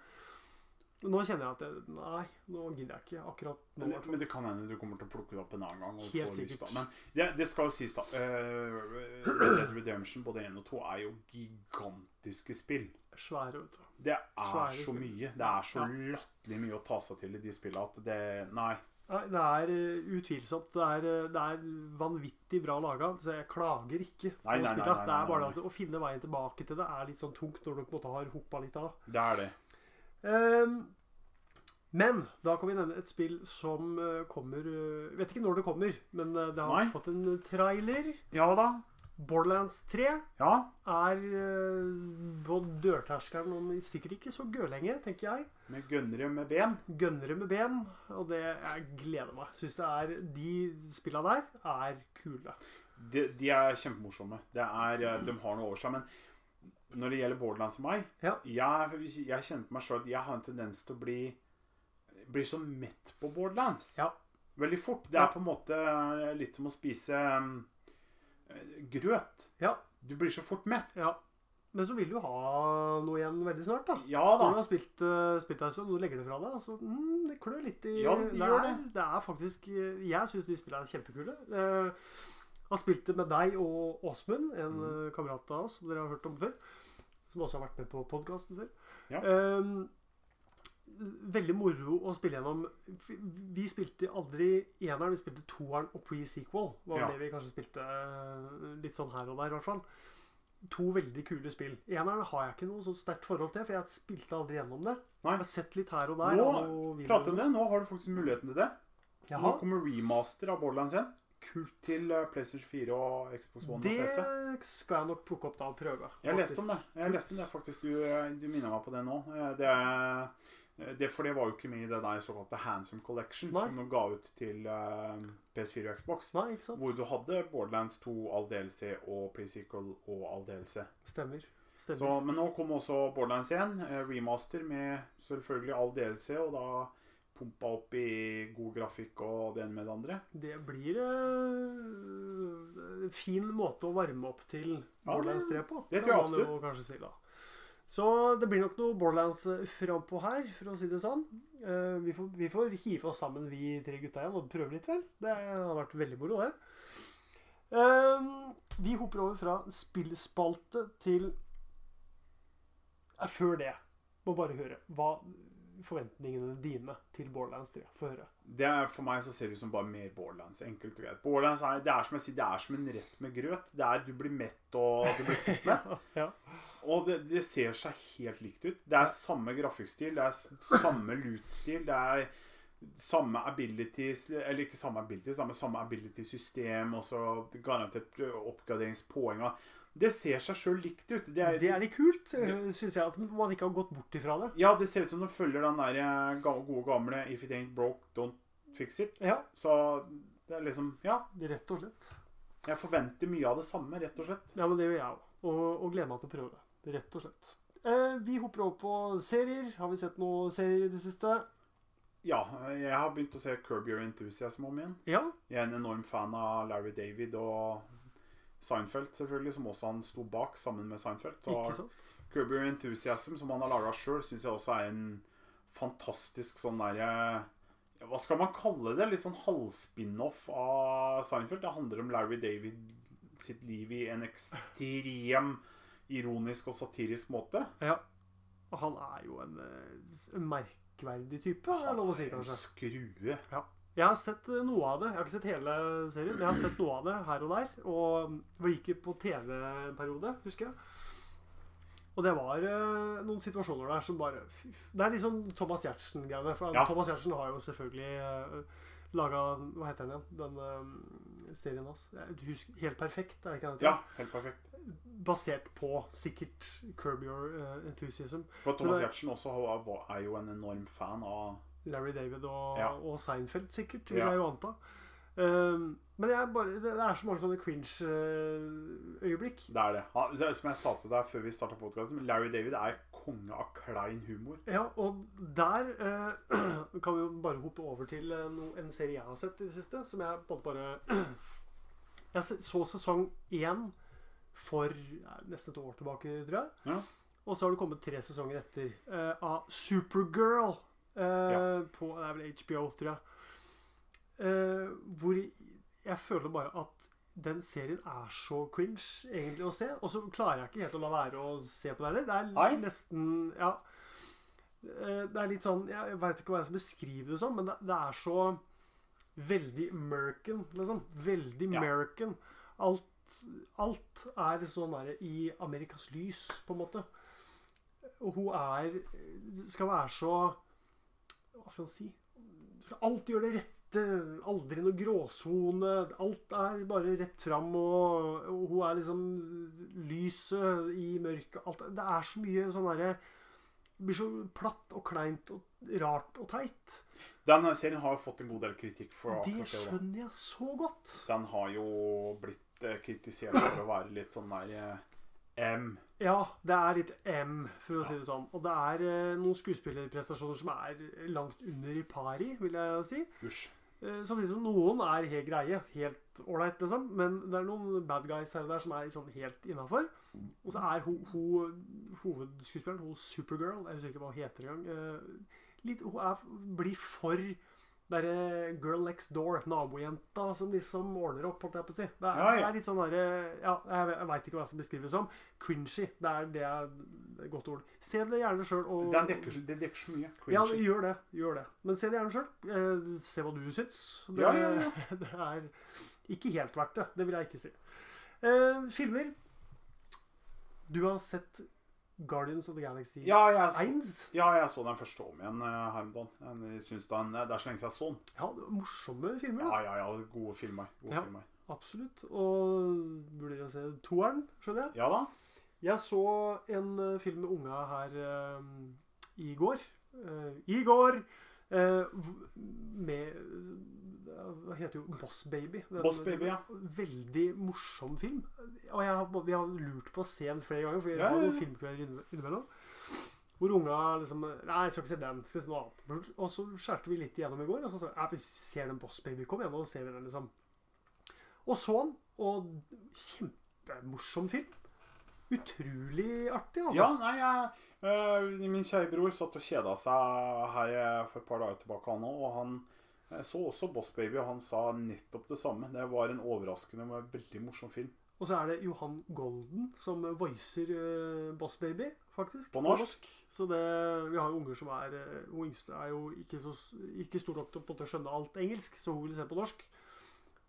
A: Men nå kjenner jeg at det, nei, nå gidder jeg ikke akkurat nå. i
B: Men,
A: hvert fall.
B: men det kan hende du kommer til å plukke det opp en annen gang. Og
A: Helt
B: få lyst
A: sikkert.
B: da. Men det, det skal jo sies, da. eh, Red Dead Redemption, både 1 og 2, er jo gigantiske spill.
A: Svære, vet du.
B: Det er
A: Svære
B: så
A: spill.
B: mye. Det er så
A: Ja.
B: latterlig mye å ta seg til i de spillene at det Nei.
A: Nei, Det er eh, utvilsomt. Det er, eh, det er vanvittig bra laga, så jeg klager ikke. på
B: Nei, nei, nei,
A: spillet.
B: nei, nei,
A: det er bare
B: nei.
A: det at å finne veien tilbake til det er litt sånn tungt når du på en måte har hoppa litt av.
B: Det er det.
A: Ehm, men da kan vi nevne et spill som eh, kommer eh, Vet ikke når det kommer, men eh, det har
B: Nei.
A: fått en trailer.
B: Ja da.
A: Borderlands 3
B: Ja.
A: er eh, på dørterskelen om sikkert ikke så gørlenge, tenker jeg.
B: Med gønnere med ben.
A: Gønnere med ben, og det jeg gleder meg. Syns det er De spilla der er kule.
B: De, de er kjempemorsomme. Det er, eh, de har noe over seg. Men når det gjelder Borderlands og meg
A: Ja.
B: jeg, jeg kjente meg sjøl at jeg har en tendens til å bli Blir så mett på Borderlands
A: Ja.
B: veldig fort. Det
A: Ja.
B: er på en måte litt som å spise eh, grøt.
A: Ja.
B: Du blir så fort mett.
A: ja. Men så vil du ha noe igjen veldig snart, da.
B: Ja
A: Når
B: da.
A: du har spilt, eh, spilt deg sånn, og du legger det fra deg, altså mm, Det klør litt i
B: Ja, det
A: det,
B: gjør
A: er,
B: det.
A: det er faktisk eh, Jeg syns de spillene er kjempekule. Eh, Jeg har spilt det med deg og Åsmund, en
B: Mhm.
A: eh, kamerat av oss som dere har hørt om før. Som også har vært med på podkasten før.
B: Ja.
A: Eh, veldig moro å spille gjennom. Vi- Vi spilte aldri eneren, vi spilte toeren og pre-sequel. Var
B: Ja.
A: det vi kanskje spilte eh, litt sånn her og der, i hvert fall. To veldig kule spill. Eneren har jeg ikke noe så sterkt forhold til, for jeg spilte aldri gjennom det.
B: Nei.
A: Jeg har sett litt her og der.
B: Nå
A: av noe video.
B: Prate om det. Nå har du faktisk muligheten til det. Nå
A: Jaha,
B: kommer remaster av Borderlands 1
A: kult.
B: til eh, PlayStation 4 og Xbox One og PC.
A: Det skal jeg nok plukke opp da og prøve.
B: Jeg
A: faktisk.
B: leste om det. Jeg leste om det faktisk. Du, du minna meg på det nå. Eh, Det, er- eh, det, for det var jo ikke med i den der såkalte Handsome Collection
A: Nei.
B: som de ga ut til eh, PS4 og Xbox.
A: Nei, ikke sant?
B: Hvor du hadde Borderlands 2, all DLC og pre-sequel og all DLC.
A: Stemmer.
B: Så,
A: Stemmer.
B: men nå kom også Borderlands 1, eh, remaster med selvfølgelig all DLC, og da pumpa opp i god grafikk og det ene med det andre.
A: Det blir eh, en fin måte å varme opp til Borderlands 3 på.
B: det tror
A: kan
B: jeg
A: man jo
B: absolutt.
A: kanskje Si, da. Så det blir nok noe Borderlands eh, frampå her, for å si det sånn. Eh, vi, får, vi får hive oss sammen, vi tre gutta igjen, og prøve litt, vel. Det har vært veldig moro, det. Eh, vi hopper over fra spillspalte til Nei, Før det må bare høre hva forventningene dine til Borderlands 3. Få høre.
B: Det er, for meg så ser det ut som bare mer Borderlands. Enkelt og greit. Borderlands er, det er som jeg sier, det er som en rett med grøt. Det er Du blir mett og du blir fort mett.
A: Ja.
B: Og det, det ser seg helt likt ut. Det er samme grafikkstil, det er s- samme loot-stil, det er samme abilities Eller ikke samme abilities, da, men samme ability-system, og så garantert oppgraderingspoenga. Det ser seg sjøl likt ut. Det er,
A: Det er litt kult, syns jeg, at man ikke har gått bort ifra det.
B: Ja, det ser ut som de følger den der eh, ga- gode gamle If it ain't broke, don't fix it.
A: Ja,
B: Så det er liksom Ja,
A: rett og slett.
B: Jeg forventer mye av det samme, rett og slett.
A: Ja, men det gjør jeg òg. Og, og gleder meg til å prøve det. Rett og slett. Eh, vi hopper over på serier. Har vi sett noen serier i det siste?
B: Ja, jeg har begynt å se Curb Your Enthusiasm om igjen.
A: Ja.
B: Jeg er en enorm fan av Larry David og Seinfeld, selvfølgelig, som også han sto bak sammen med Seinfeld.
A: Ikke
B: Så
A: sant?
B: Curb Your Enthusiasm, som han har laga sjøl, syns jeg også er en fantastisk sånn derre ja, Hva skal man kalle det? Litt sånn halvspin-off av Seinfeld. Det handler om Larry David sitt liv i en ekstrem ironisk og satirisk måte.
A: Ja. Og han er jo en eh, s- merkverdig type, er det lov å si, kanskje.
B: Skrue.
A: Jeg har sett eh, noe av det. Jeg har ikke sett hele serien, men jeg har sett noe av det her og der. Og det gikk jo på TV en periode, husker jeg. Og det var eh, noen situasjoner der som bare fy f- Det er litt sånn Thomas Giertsen-greiene. For
B: Ja.
A: Thomas Giertsen har jo selvfølgelig uh, laga Hva heter den igjen? Den eh, serien hans. Jeg husker, Helt perfekt, er det ikke det? den heter?
B: Ja, helt perfekt.
A: Basert på sikkert Curb Your eh, Enthusiasm.
B: For Thomas
A: Men det-
B: Giertsen også har- var- er jo en enorm fan av
A: Larry David og,
B: Ja.
A: og Seinfeld, sikkert, vil
B: Ja.
A: jeg jo anta. Um, men jeg bare, det, det er så mange sånne cringe-øyeblikk.
B: Det er det. Han, så- som jeg sa til deg før vi starta podkasten, Larry David er konge av klein humor.
A: Ja, og der eh, kan vi jo bare hoppe over til eh, no, en serie jeg har sett i det siste, som jeg på en måte bare Jeg se- så sesong én for ja, nesten et år tilbake, tror jeg.
B: Ja.
A: Og så har det kommet tre sesonger etter eh, av Supergirl eh,
B: Ja.
A: på det er vel HBO, tror jeg. Eh, hvor jeg føler bare at den serien er så cringe egentlig å se. Og så klarer jeg ikke helt å la være å se på det heller. Det er
B: Nei.
A: nesten Ja. Eh, Det er litt sånn Jeg veit ikke hva jeg skal beskrive det som, men det, det er så veldig American, liksom. Veldig
B: Ja.
A: American. Alt, alt er sånn der i Amerikas lys, på en måte. Og hun er eh, Skal være så Hva skal en si? Skal alltid gjøre det rette. Aldri noe gråsone. Alt er bare rett fram, og, og hun er liksom lyset i mørket. Alt, det er så mye sånn derre Det blir så platt og kleint og rart og teit.
B: Den serien har jo fått en god del kritikk for
A: Det
B: akkurat det. da.
A: skjønner jeg så godt.
B: Den har jo blitt eh, kritisert for å være litt sånn der eh, M.
A: Ja, det er litt M, for å si det sånn. Og det er eh, noen skuespillerprestasjoner som er langt under i pari, vil jeg si.
B: Usj.
A: Eh, Samtidig som noen er helt greie, helt ålreit, liksom. Men det er noen bad guys her og der som er sånn helt innafor. Og så er hun, hun hovedskuespilleren, hun Supergirl, jeg husker ikke hva hun heter engang, eh, litt, hun er, blir for derre girl next door, nabojenta som liksom ordner opp, holdt jeg på å si. Det er,
B: Ja, ja.
A: det er litt sånn derre Ja, jeg, ve- jeg veit ikke hva som beskrives som. Cringy. Det er det er et godt ord. Se det gjerne sjøl og
B: Den dekker, så- det dekker så mye.
A: ja,
B: Cringy.
A: gjør det. gjør det. Men se det gjerne sjøl. Eh, se hva du syns. Det,
B: Ja, ja, ja.
A: det er ikke helt verdt det. Det vil jeg ikke si. Eh, filmer. Du har sett Guardians of the Galaxy
B: Ja, jeg så,
A: 1?
B: ja, jeg så den første om igjen eh, her om dagen. Jeg synes den, eh, Det er så lenge siden jeg så den.
A: Ja, det var morsomme filmer. da.
B: Ja, ja, ja. Gode filmer. Gode
A: Ja.
B: filmer.
A: Absolutt. Og burde dere se toeren, skjønner jeg.
B: Ja da.
A: Jeg så en eh, film med unga her eh, i går. Eh, I går! eh, v- med eh, Hva heter jo Boss Baby. Den-
B: Boss Baby, ja.
A: Veldig morsom film. Og jeg har, både- vi har lurt på å se den flere ganger, for vi
B: Ja,
A: har
B: ja, ja.
A: noen filmkvelder inne- innimellom. Hvor unga liksom Nei, jeg skal ikke se den. Skal se noe annet. Og så skjærte vi litt igjennom i går. Og så sa jeg, «Ja, vi ser den Boss Baby. Kom igjen, nå ser vi den, liksom. Og så den. Og kjempemorsom film. Utrolig artig, altså.
B: Ja, nei, jeg, øh, min kjære bror satt og kjeda seg her eh, for et par dager tilbake, han òg. Og han eh, så også Boss Baby, og han sa nettopp det samme. Det var en overraskende men veldig morsom film.
A: Og så er det Johan Golden som voicer eh, Boss Baby, faktisk.
B: På norsk.
A: Så det, vi har jo unger som er eh, Hun yngste er jo ikke, så, s- ikke stor nok til å på en måte skjønne alt engelsk, så hun vil se på norsk.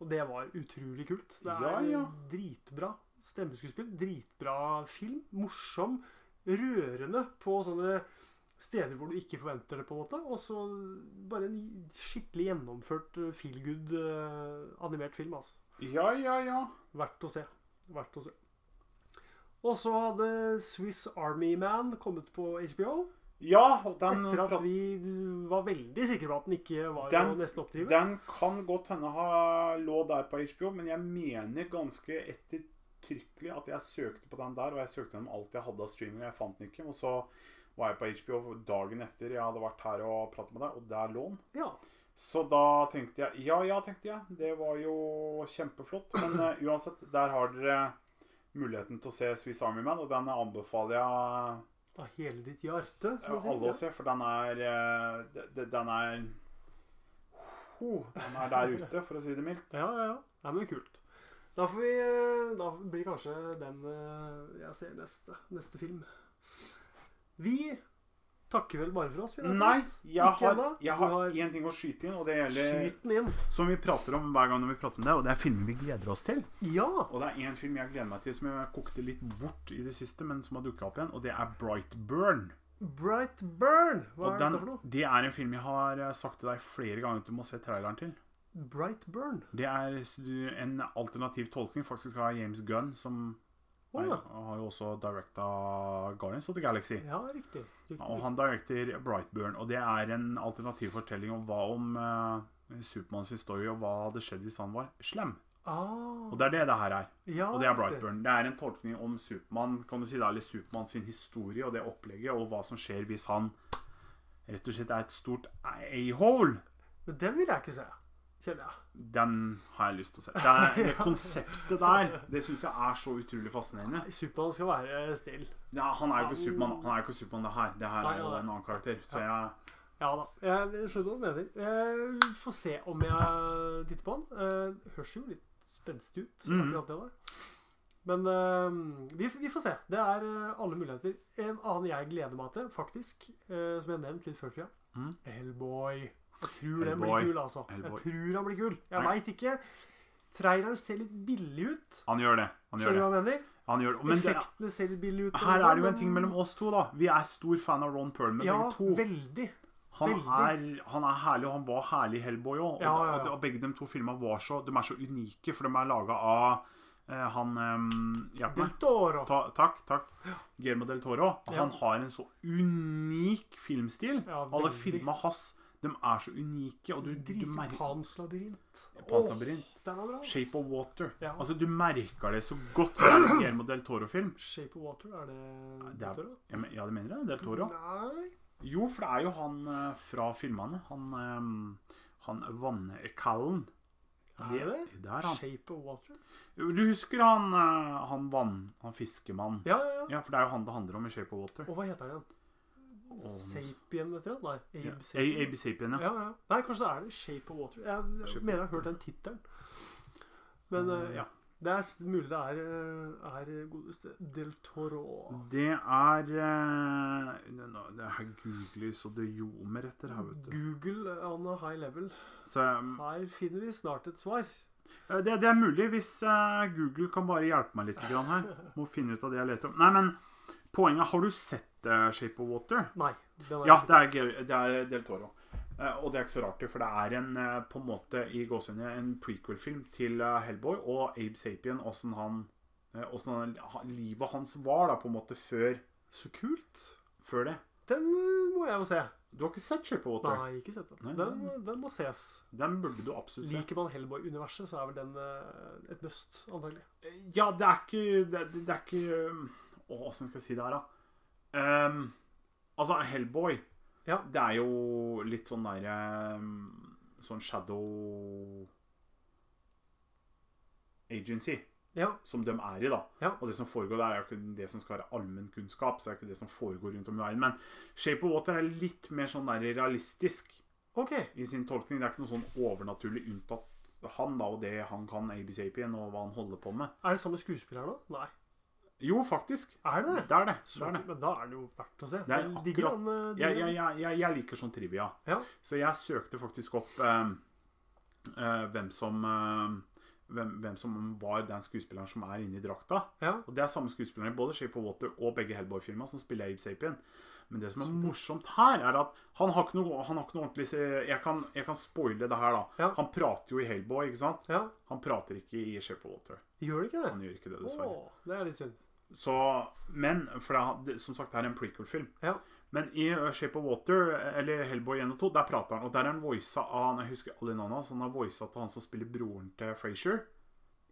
A: Og det var utrolig kult. Det er
B: Ja, ja.
A: dritbra stemmeskuespill, dritbra film, morsom, rørende på sånne steder hvor du ikke forventer det, på en måte. Og så bare en skikkelig gjennomført eh, feel good eh, animert film, altså.
B: Ja, ja, ja.
A: Verdt å se. Verdt å se. Og så hadde Swiss Army Man kommet på HBO.
B: Ja, og den,
A: Etter at
B: prat-
A: vi var veldig sikre på at den ikke var
B: Den-
A: å nesten oppdrive.
B: den kan godt hende ha lå der på HBO, men jeg mener ganske ettertrykkelig at jeg søkte på den der, og jeg søkte gjennom alt jeg hadde av streaming, og jeg fant den ikke. Og så var jeg på HBO dagen etter jeg hadde vært her og pratet med deg, og der lå den.
A: Ja.
B: Så da tenkte jeg Ja, ja, tenkte jeg. Det var jo kjempeflott. Men eh, uansett, der har dere muligheten til å se Swiss Army Man, og den anbefaler jeg
A: Av hele ditt hjerte,
B: eh,
A: som
B: alle
A: man
B: å
A: sier.
B: se, for den er eh, de- de- Den er Ho, Den er der ute, for å si det mildt.
A: Ja, ja, ja. Nei, men kult. Da, får vi, eh, da blir kanskje den eh, jeg ser neste, neste film. Vi takker vel bare for oss. vi, rett og
B: Nei,
A: slett.
B: jeg
A: Ikke
B: har,
A: ennå.
B: jeg
A: Du
B: har én ting å skyte inn, og det gjelder
A: Skyt den inn.
B: Som vi prater om hver gang når vi prater om det, og det er filmer vi gleder oss til.
A: Ja.
B: Og det er én film jeg gleder meg til som jeg kokte litt bort i det siste, men som har dukka opp igjen, og det er Brightburn.
A: Bright Burn. Hva
B: Og
A: er
B: den,
A: dette for noe?
B: det er en film jeg har eh, sagt til deg flere ganger at du må se traileren til.
A: Bright Burn.
B: Det er s- du- en alternativ tolkning. Faktisk har James Gunn, som
A: Å
B: er,
A: ja.
B: har jo også directa Guardians of the Galaxy.
A: Ja, riktig. riktig,
B: Og
A: riktig.
B: han directer Brightburn. Og det er en alternativ fortelling om hva om eh, Supermanns historie, og hva hadde skjedd hvis han var slem.
A: Ah,
B: Og det er det det her er.
A: ja,
B: Og det er
A: Ah, riktig.
B: Brightburn. Det er en tolkning om Supermann, kan du si, da, eller Supermann sin historie og det opplegget, og hva som skjer hvis han rett og slett er et stort a-hole.
A: Men den vil jeg ikke se, kjenner jeg.
B: Den har jeg lyst til å se. Det, er, det konseptet der, det syns jeg er så utrolig fascinerende.
A: Nei, Supermann skal være snill.
B: Ja, han er jo ikke Supermann, han er jo ikke Supermann det her. Det her er jo en annen karakter. Så jeg
A: Ja da, jeg skjønner hva du mener. Eh, Få se om jeg titter på den. Eh, høres jo litt spenstig ut,
B: Mhm.
A: akkurat det der. Men eh, vi, vi får se. Det er eh, alle muligheter. En annen jeg gleder meg til, faktisk, eh, som jeg nevnte litt før, tror jeg.
B: Mhm.
A: Hellboy. Jeg tror den
B: Hellboy.
A: blir kul, altså. Jeg
B: Hellboy.
A: tror han blir kul. Jeg
B: Nei.
A: veit ikke. Traileren ser litt billig ut.
B: Han gjør det. Han gjør
A: Skjønner du
B: det.
A: hva jeg mener?
B: Han gjør det. Men det,
A: Effektene ser litt billige ut. sånn,
B: her er det jo en ting mellom oss to, da. Vi er stor fan av Ron Perlman,
A: Ja,
B: begge to.
A: veldig.
B: Han er,
A: veldig.
B: han er herlig, og han var herlig i Hellboy òg. Og,
A: Ja, ja, ja.
B: og, og begge de to filmene var så, de er så unike, for de er laga av eh, han eh, Hjelp meg.
A: Del Toro.
B: Ta, takk, takk. Guillermo del Toro.
A: Ja.
B: Han har en så unik filmstil.
A: Ja,
B: Alle
A: veldig.
B: filma hans de er så unike, og du, du
A: Driter
B: merker
A: Pans labyrint.
B: Pans
A: Åh,
B: labyrint.
A: den var bra. ass.
B: Shape of Water.
A: Ja.
B: Altså, du merker det så godt. Det er en Guillermo del Toro-film.
A: Shape of Water, er det
B: Det er-
A: Del Toro?
B: Ja, men- ja, det mener jeg. Del Toro.
A: Nei
B: Jo, for det er jo han eh, fra filmene. Han, eh, han Vannkallen.
A: Er det?
B: Det er han.
A: Shape of Water?
B: Du husker han, eh, han vann... Han fiskemannen?
A: Ja, ja, ja.
B: Ja, for det er jo han det handler om i Shape of Water.
A: Og hva heter den igjen? Sapien et eller annet? Nei,
B: Ja.
A: Abe Sapien.
B: A- Abe Sapien, ja.
A: Ja, ja. Nei, kanskje det er det. Shape of Water. Jeg,
B: Shape of
A: mener jeg har
B: Water.
A: hørt den tittelen. Men
B: Eh,
A: eh, ja. Det er s- mulig det er, eh, er godeste Del Toro.
B: Det er eh, det, nå- det her googler så det ljomer etter her, vet du.
A: Google on a high level.
B: Så, eh,
A: Her finner vi snart et svar.
B: det, det er mulig hvis eh, Google kan bare hjelpe meg litt grann her. Må finne ut av det jeg leter om. Nei, men poenget Har du sett eh, Shape of Water?
A: Nei. Den har
B: Ja,
A: jeg ikke
B: det er, Gau- det er Del Toro. Eh, og det er ikke så rart, det, for det er en eh, på en måte i gåsehudet en prequel-film til eh, Hellboy og Abe Sapien, åssen han, eh, hvordan han ha- livet hans var da, på en måte før,
A: sett. Så kult.
B: før det.
A: Den eh, må jeg jo se.
B: Du har ikke sett Shape of Water?
A: Nei, ikke sett den.
B: Nei,
A: Den, den må ses.
B: Den burde du absolutt se.
A: Liker man Hellboy-universet, så er vel den eh, et must, antagelig.
B: Ja, det er ikke Det, det det er ikke um, Å, åssen skal jeg si det her, da? Um, altså, Hellboy
A: Ja.
B: Det er jo litt sånn derre um, Sånn shadow agency
A: Ja.
B: som de er i, da.
A: Ja.
B: Og det som foregår der, er jo ikke det som skal være allmennkunnskap. Så det er ikke det som foregår rundt om i verden. Men Shape of Water er litt mer sånn der realistisk
A: OK.
B: i sin tolkning. Det er ikke noe sånn overnaturlig unntatt han da, og det han kan, Abe Sapien, og hva han holder på med.
A: Er det samme skuespiller nå? Nei.
B: Jo, faktisk.
A: Er det det?
B: Det er det.
A: Så,
B: det, er det.
A: Men da er det jo verdt å se.
B: Det er
A: Jeg digger
B: akkurat-
A: han, eh,
B: Jeg,
A: digger han.
B: jeg, jeg, jeg, jeg liker sånn trivia.
A: Ja.
B: Så jeg søkte faktisk opp eh, eh, hvem, som, eh, hvem, hvem som var den skuespilleren som er inni drakta.
A: Ja.
B: Og det er samme skuespilleren i både Shape of Water og begge Hellboy-filmer som spiller Abe Sapien. Men det som er
A: Så bra.
B: morsomt her, er at han har ikke noe, han har ikke noe ordentlig se- jeg kan, jeg kan spoile det her, da.
A: Ja.
B: Han prater jo i Hellboy, ikke sant?
A: ja.
B: Han prater ikke i Shape of Water.
A: Gjør det ikke det?
B: Han gjør ikke det,
A: Å,
B: dessverre.
A: det er litt synd.
B: Så, men, for det, er- det, som sagt, det er en prequel-film.
A: Ja.
B: Men i uh, Shape of Water, eller Hellboy 1 og 2, der prater han. Og der er han voisa av Jeg husker alle navnene hans. Han har voisa til han som spiller broren til Frasier.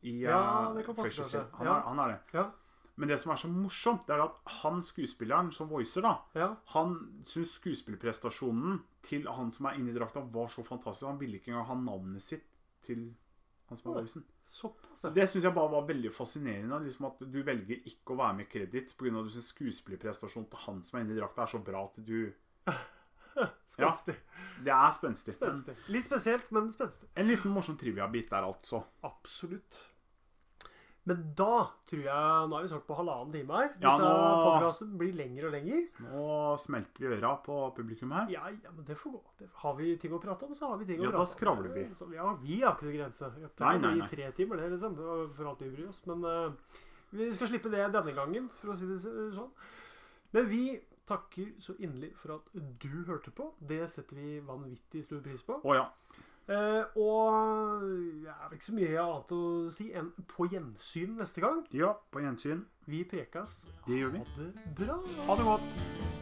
B: I, uh,
A: Ja, det kan passe,
B: Frasiers-
A: kanskje.
B: Han,
A: Ja.
B: er, han er det.
A: Ja.
B: Men det som er så morsomt, det er at han skuespilleren som voicer, da,
A: Ja.
B: han syns skuespillerprestasjonen til han som er inni drakta, var så fantastisk. Han ville ikke engang ha navnet sitt til han som
A: Oi.
B: er voicen.
A: Såpass, ja.
B: Det syns jeg bare var veldig fascinerende. Liksom at du velger ikke å være med i credits pga. at du syns skuespillerprestasjonen til han som er inni drakta, er så bra at du
A: Spenstig.
B: Det er spenstig. men
A: Spenstig. Litt spesielt, men spenstig.
B: En liten morsom trivia-bit der, altså.
A: Absolutt. Men da tror jeg Nå er vi snart på halvannen time her.
B: Ja,
A: Disse
B: nå-
A: podcastene blir lengre og lengre.
B: Nå smelter vi øra på publikum her.
A: Ja, ja, men det får gå. Det, har vi ting å prate om, så har vi ting
B: Ja,
A: å
B: da
A: prate om.
B: skravler vi.
A: Så, ja, vi har ikke noen grense. Det
B: Nei,
A: kan
B: nei,
A: bli
B: nei.
A: tre timer, det, liksom. og For alt vi bryr oss. Men eh, vi skal slippe det denne gangen, for å si det s- sånn. Men vi takker så inderlig for at du hørte på. Det setter vi vanvittig stor pris på.
B: Å ja.
A: Eh, og det er vel ikke så mye annet å si enn på gjensyn neste gang.
B: Ja, på gjensyn.
A: Vi prekas.
B: Det gjør vi.
A: Ha det bra.
B: Ha det godt.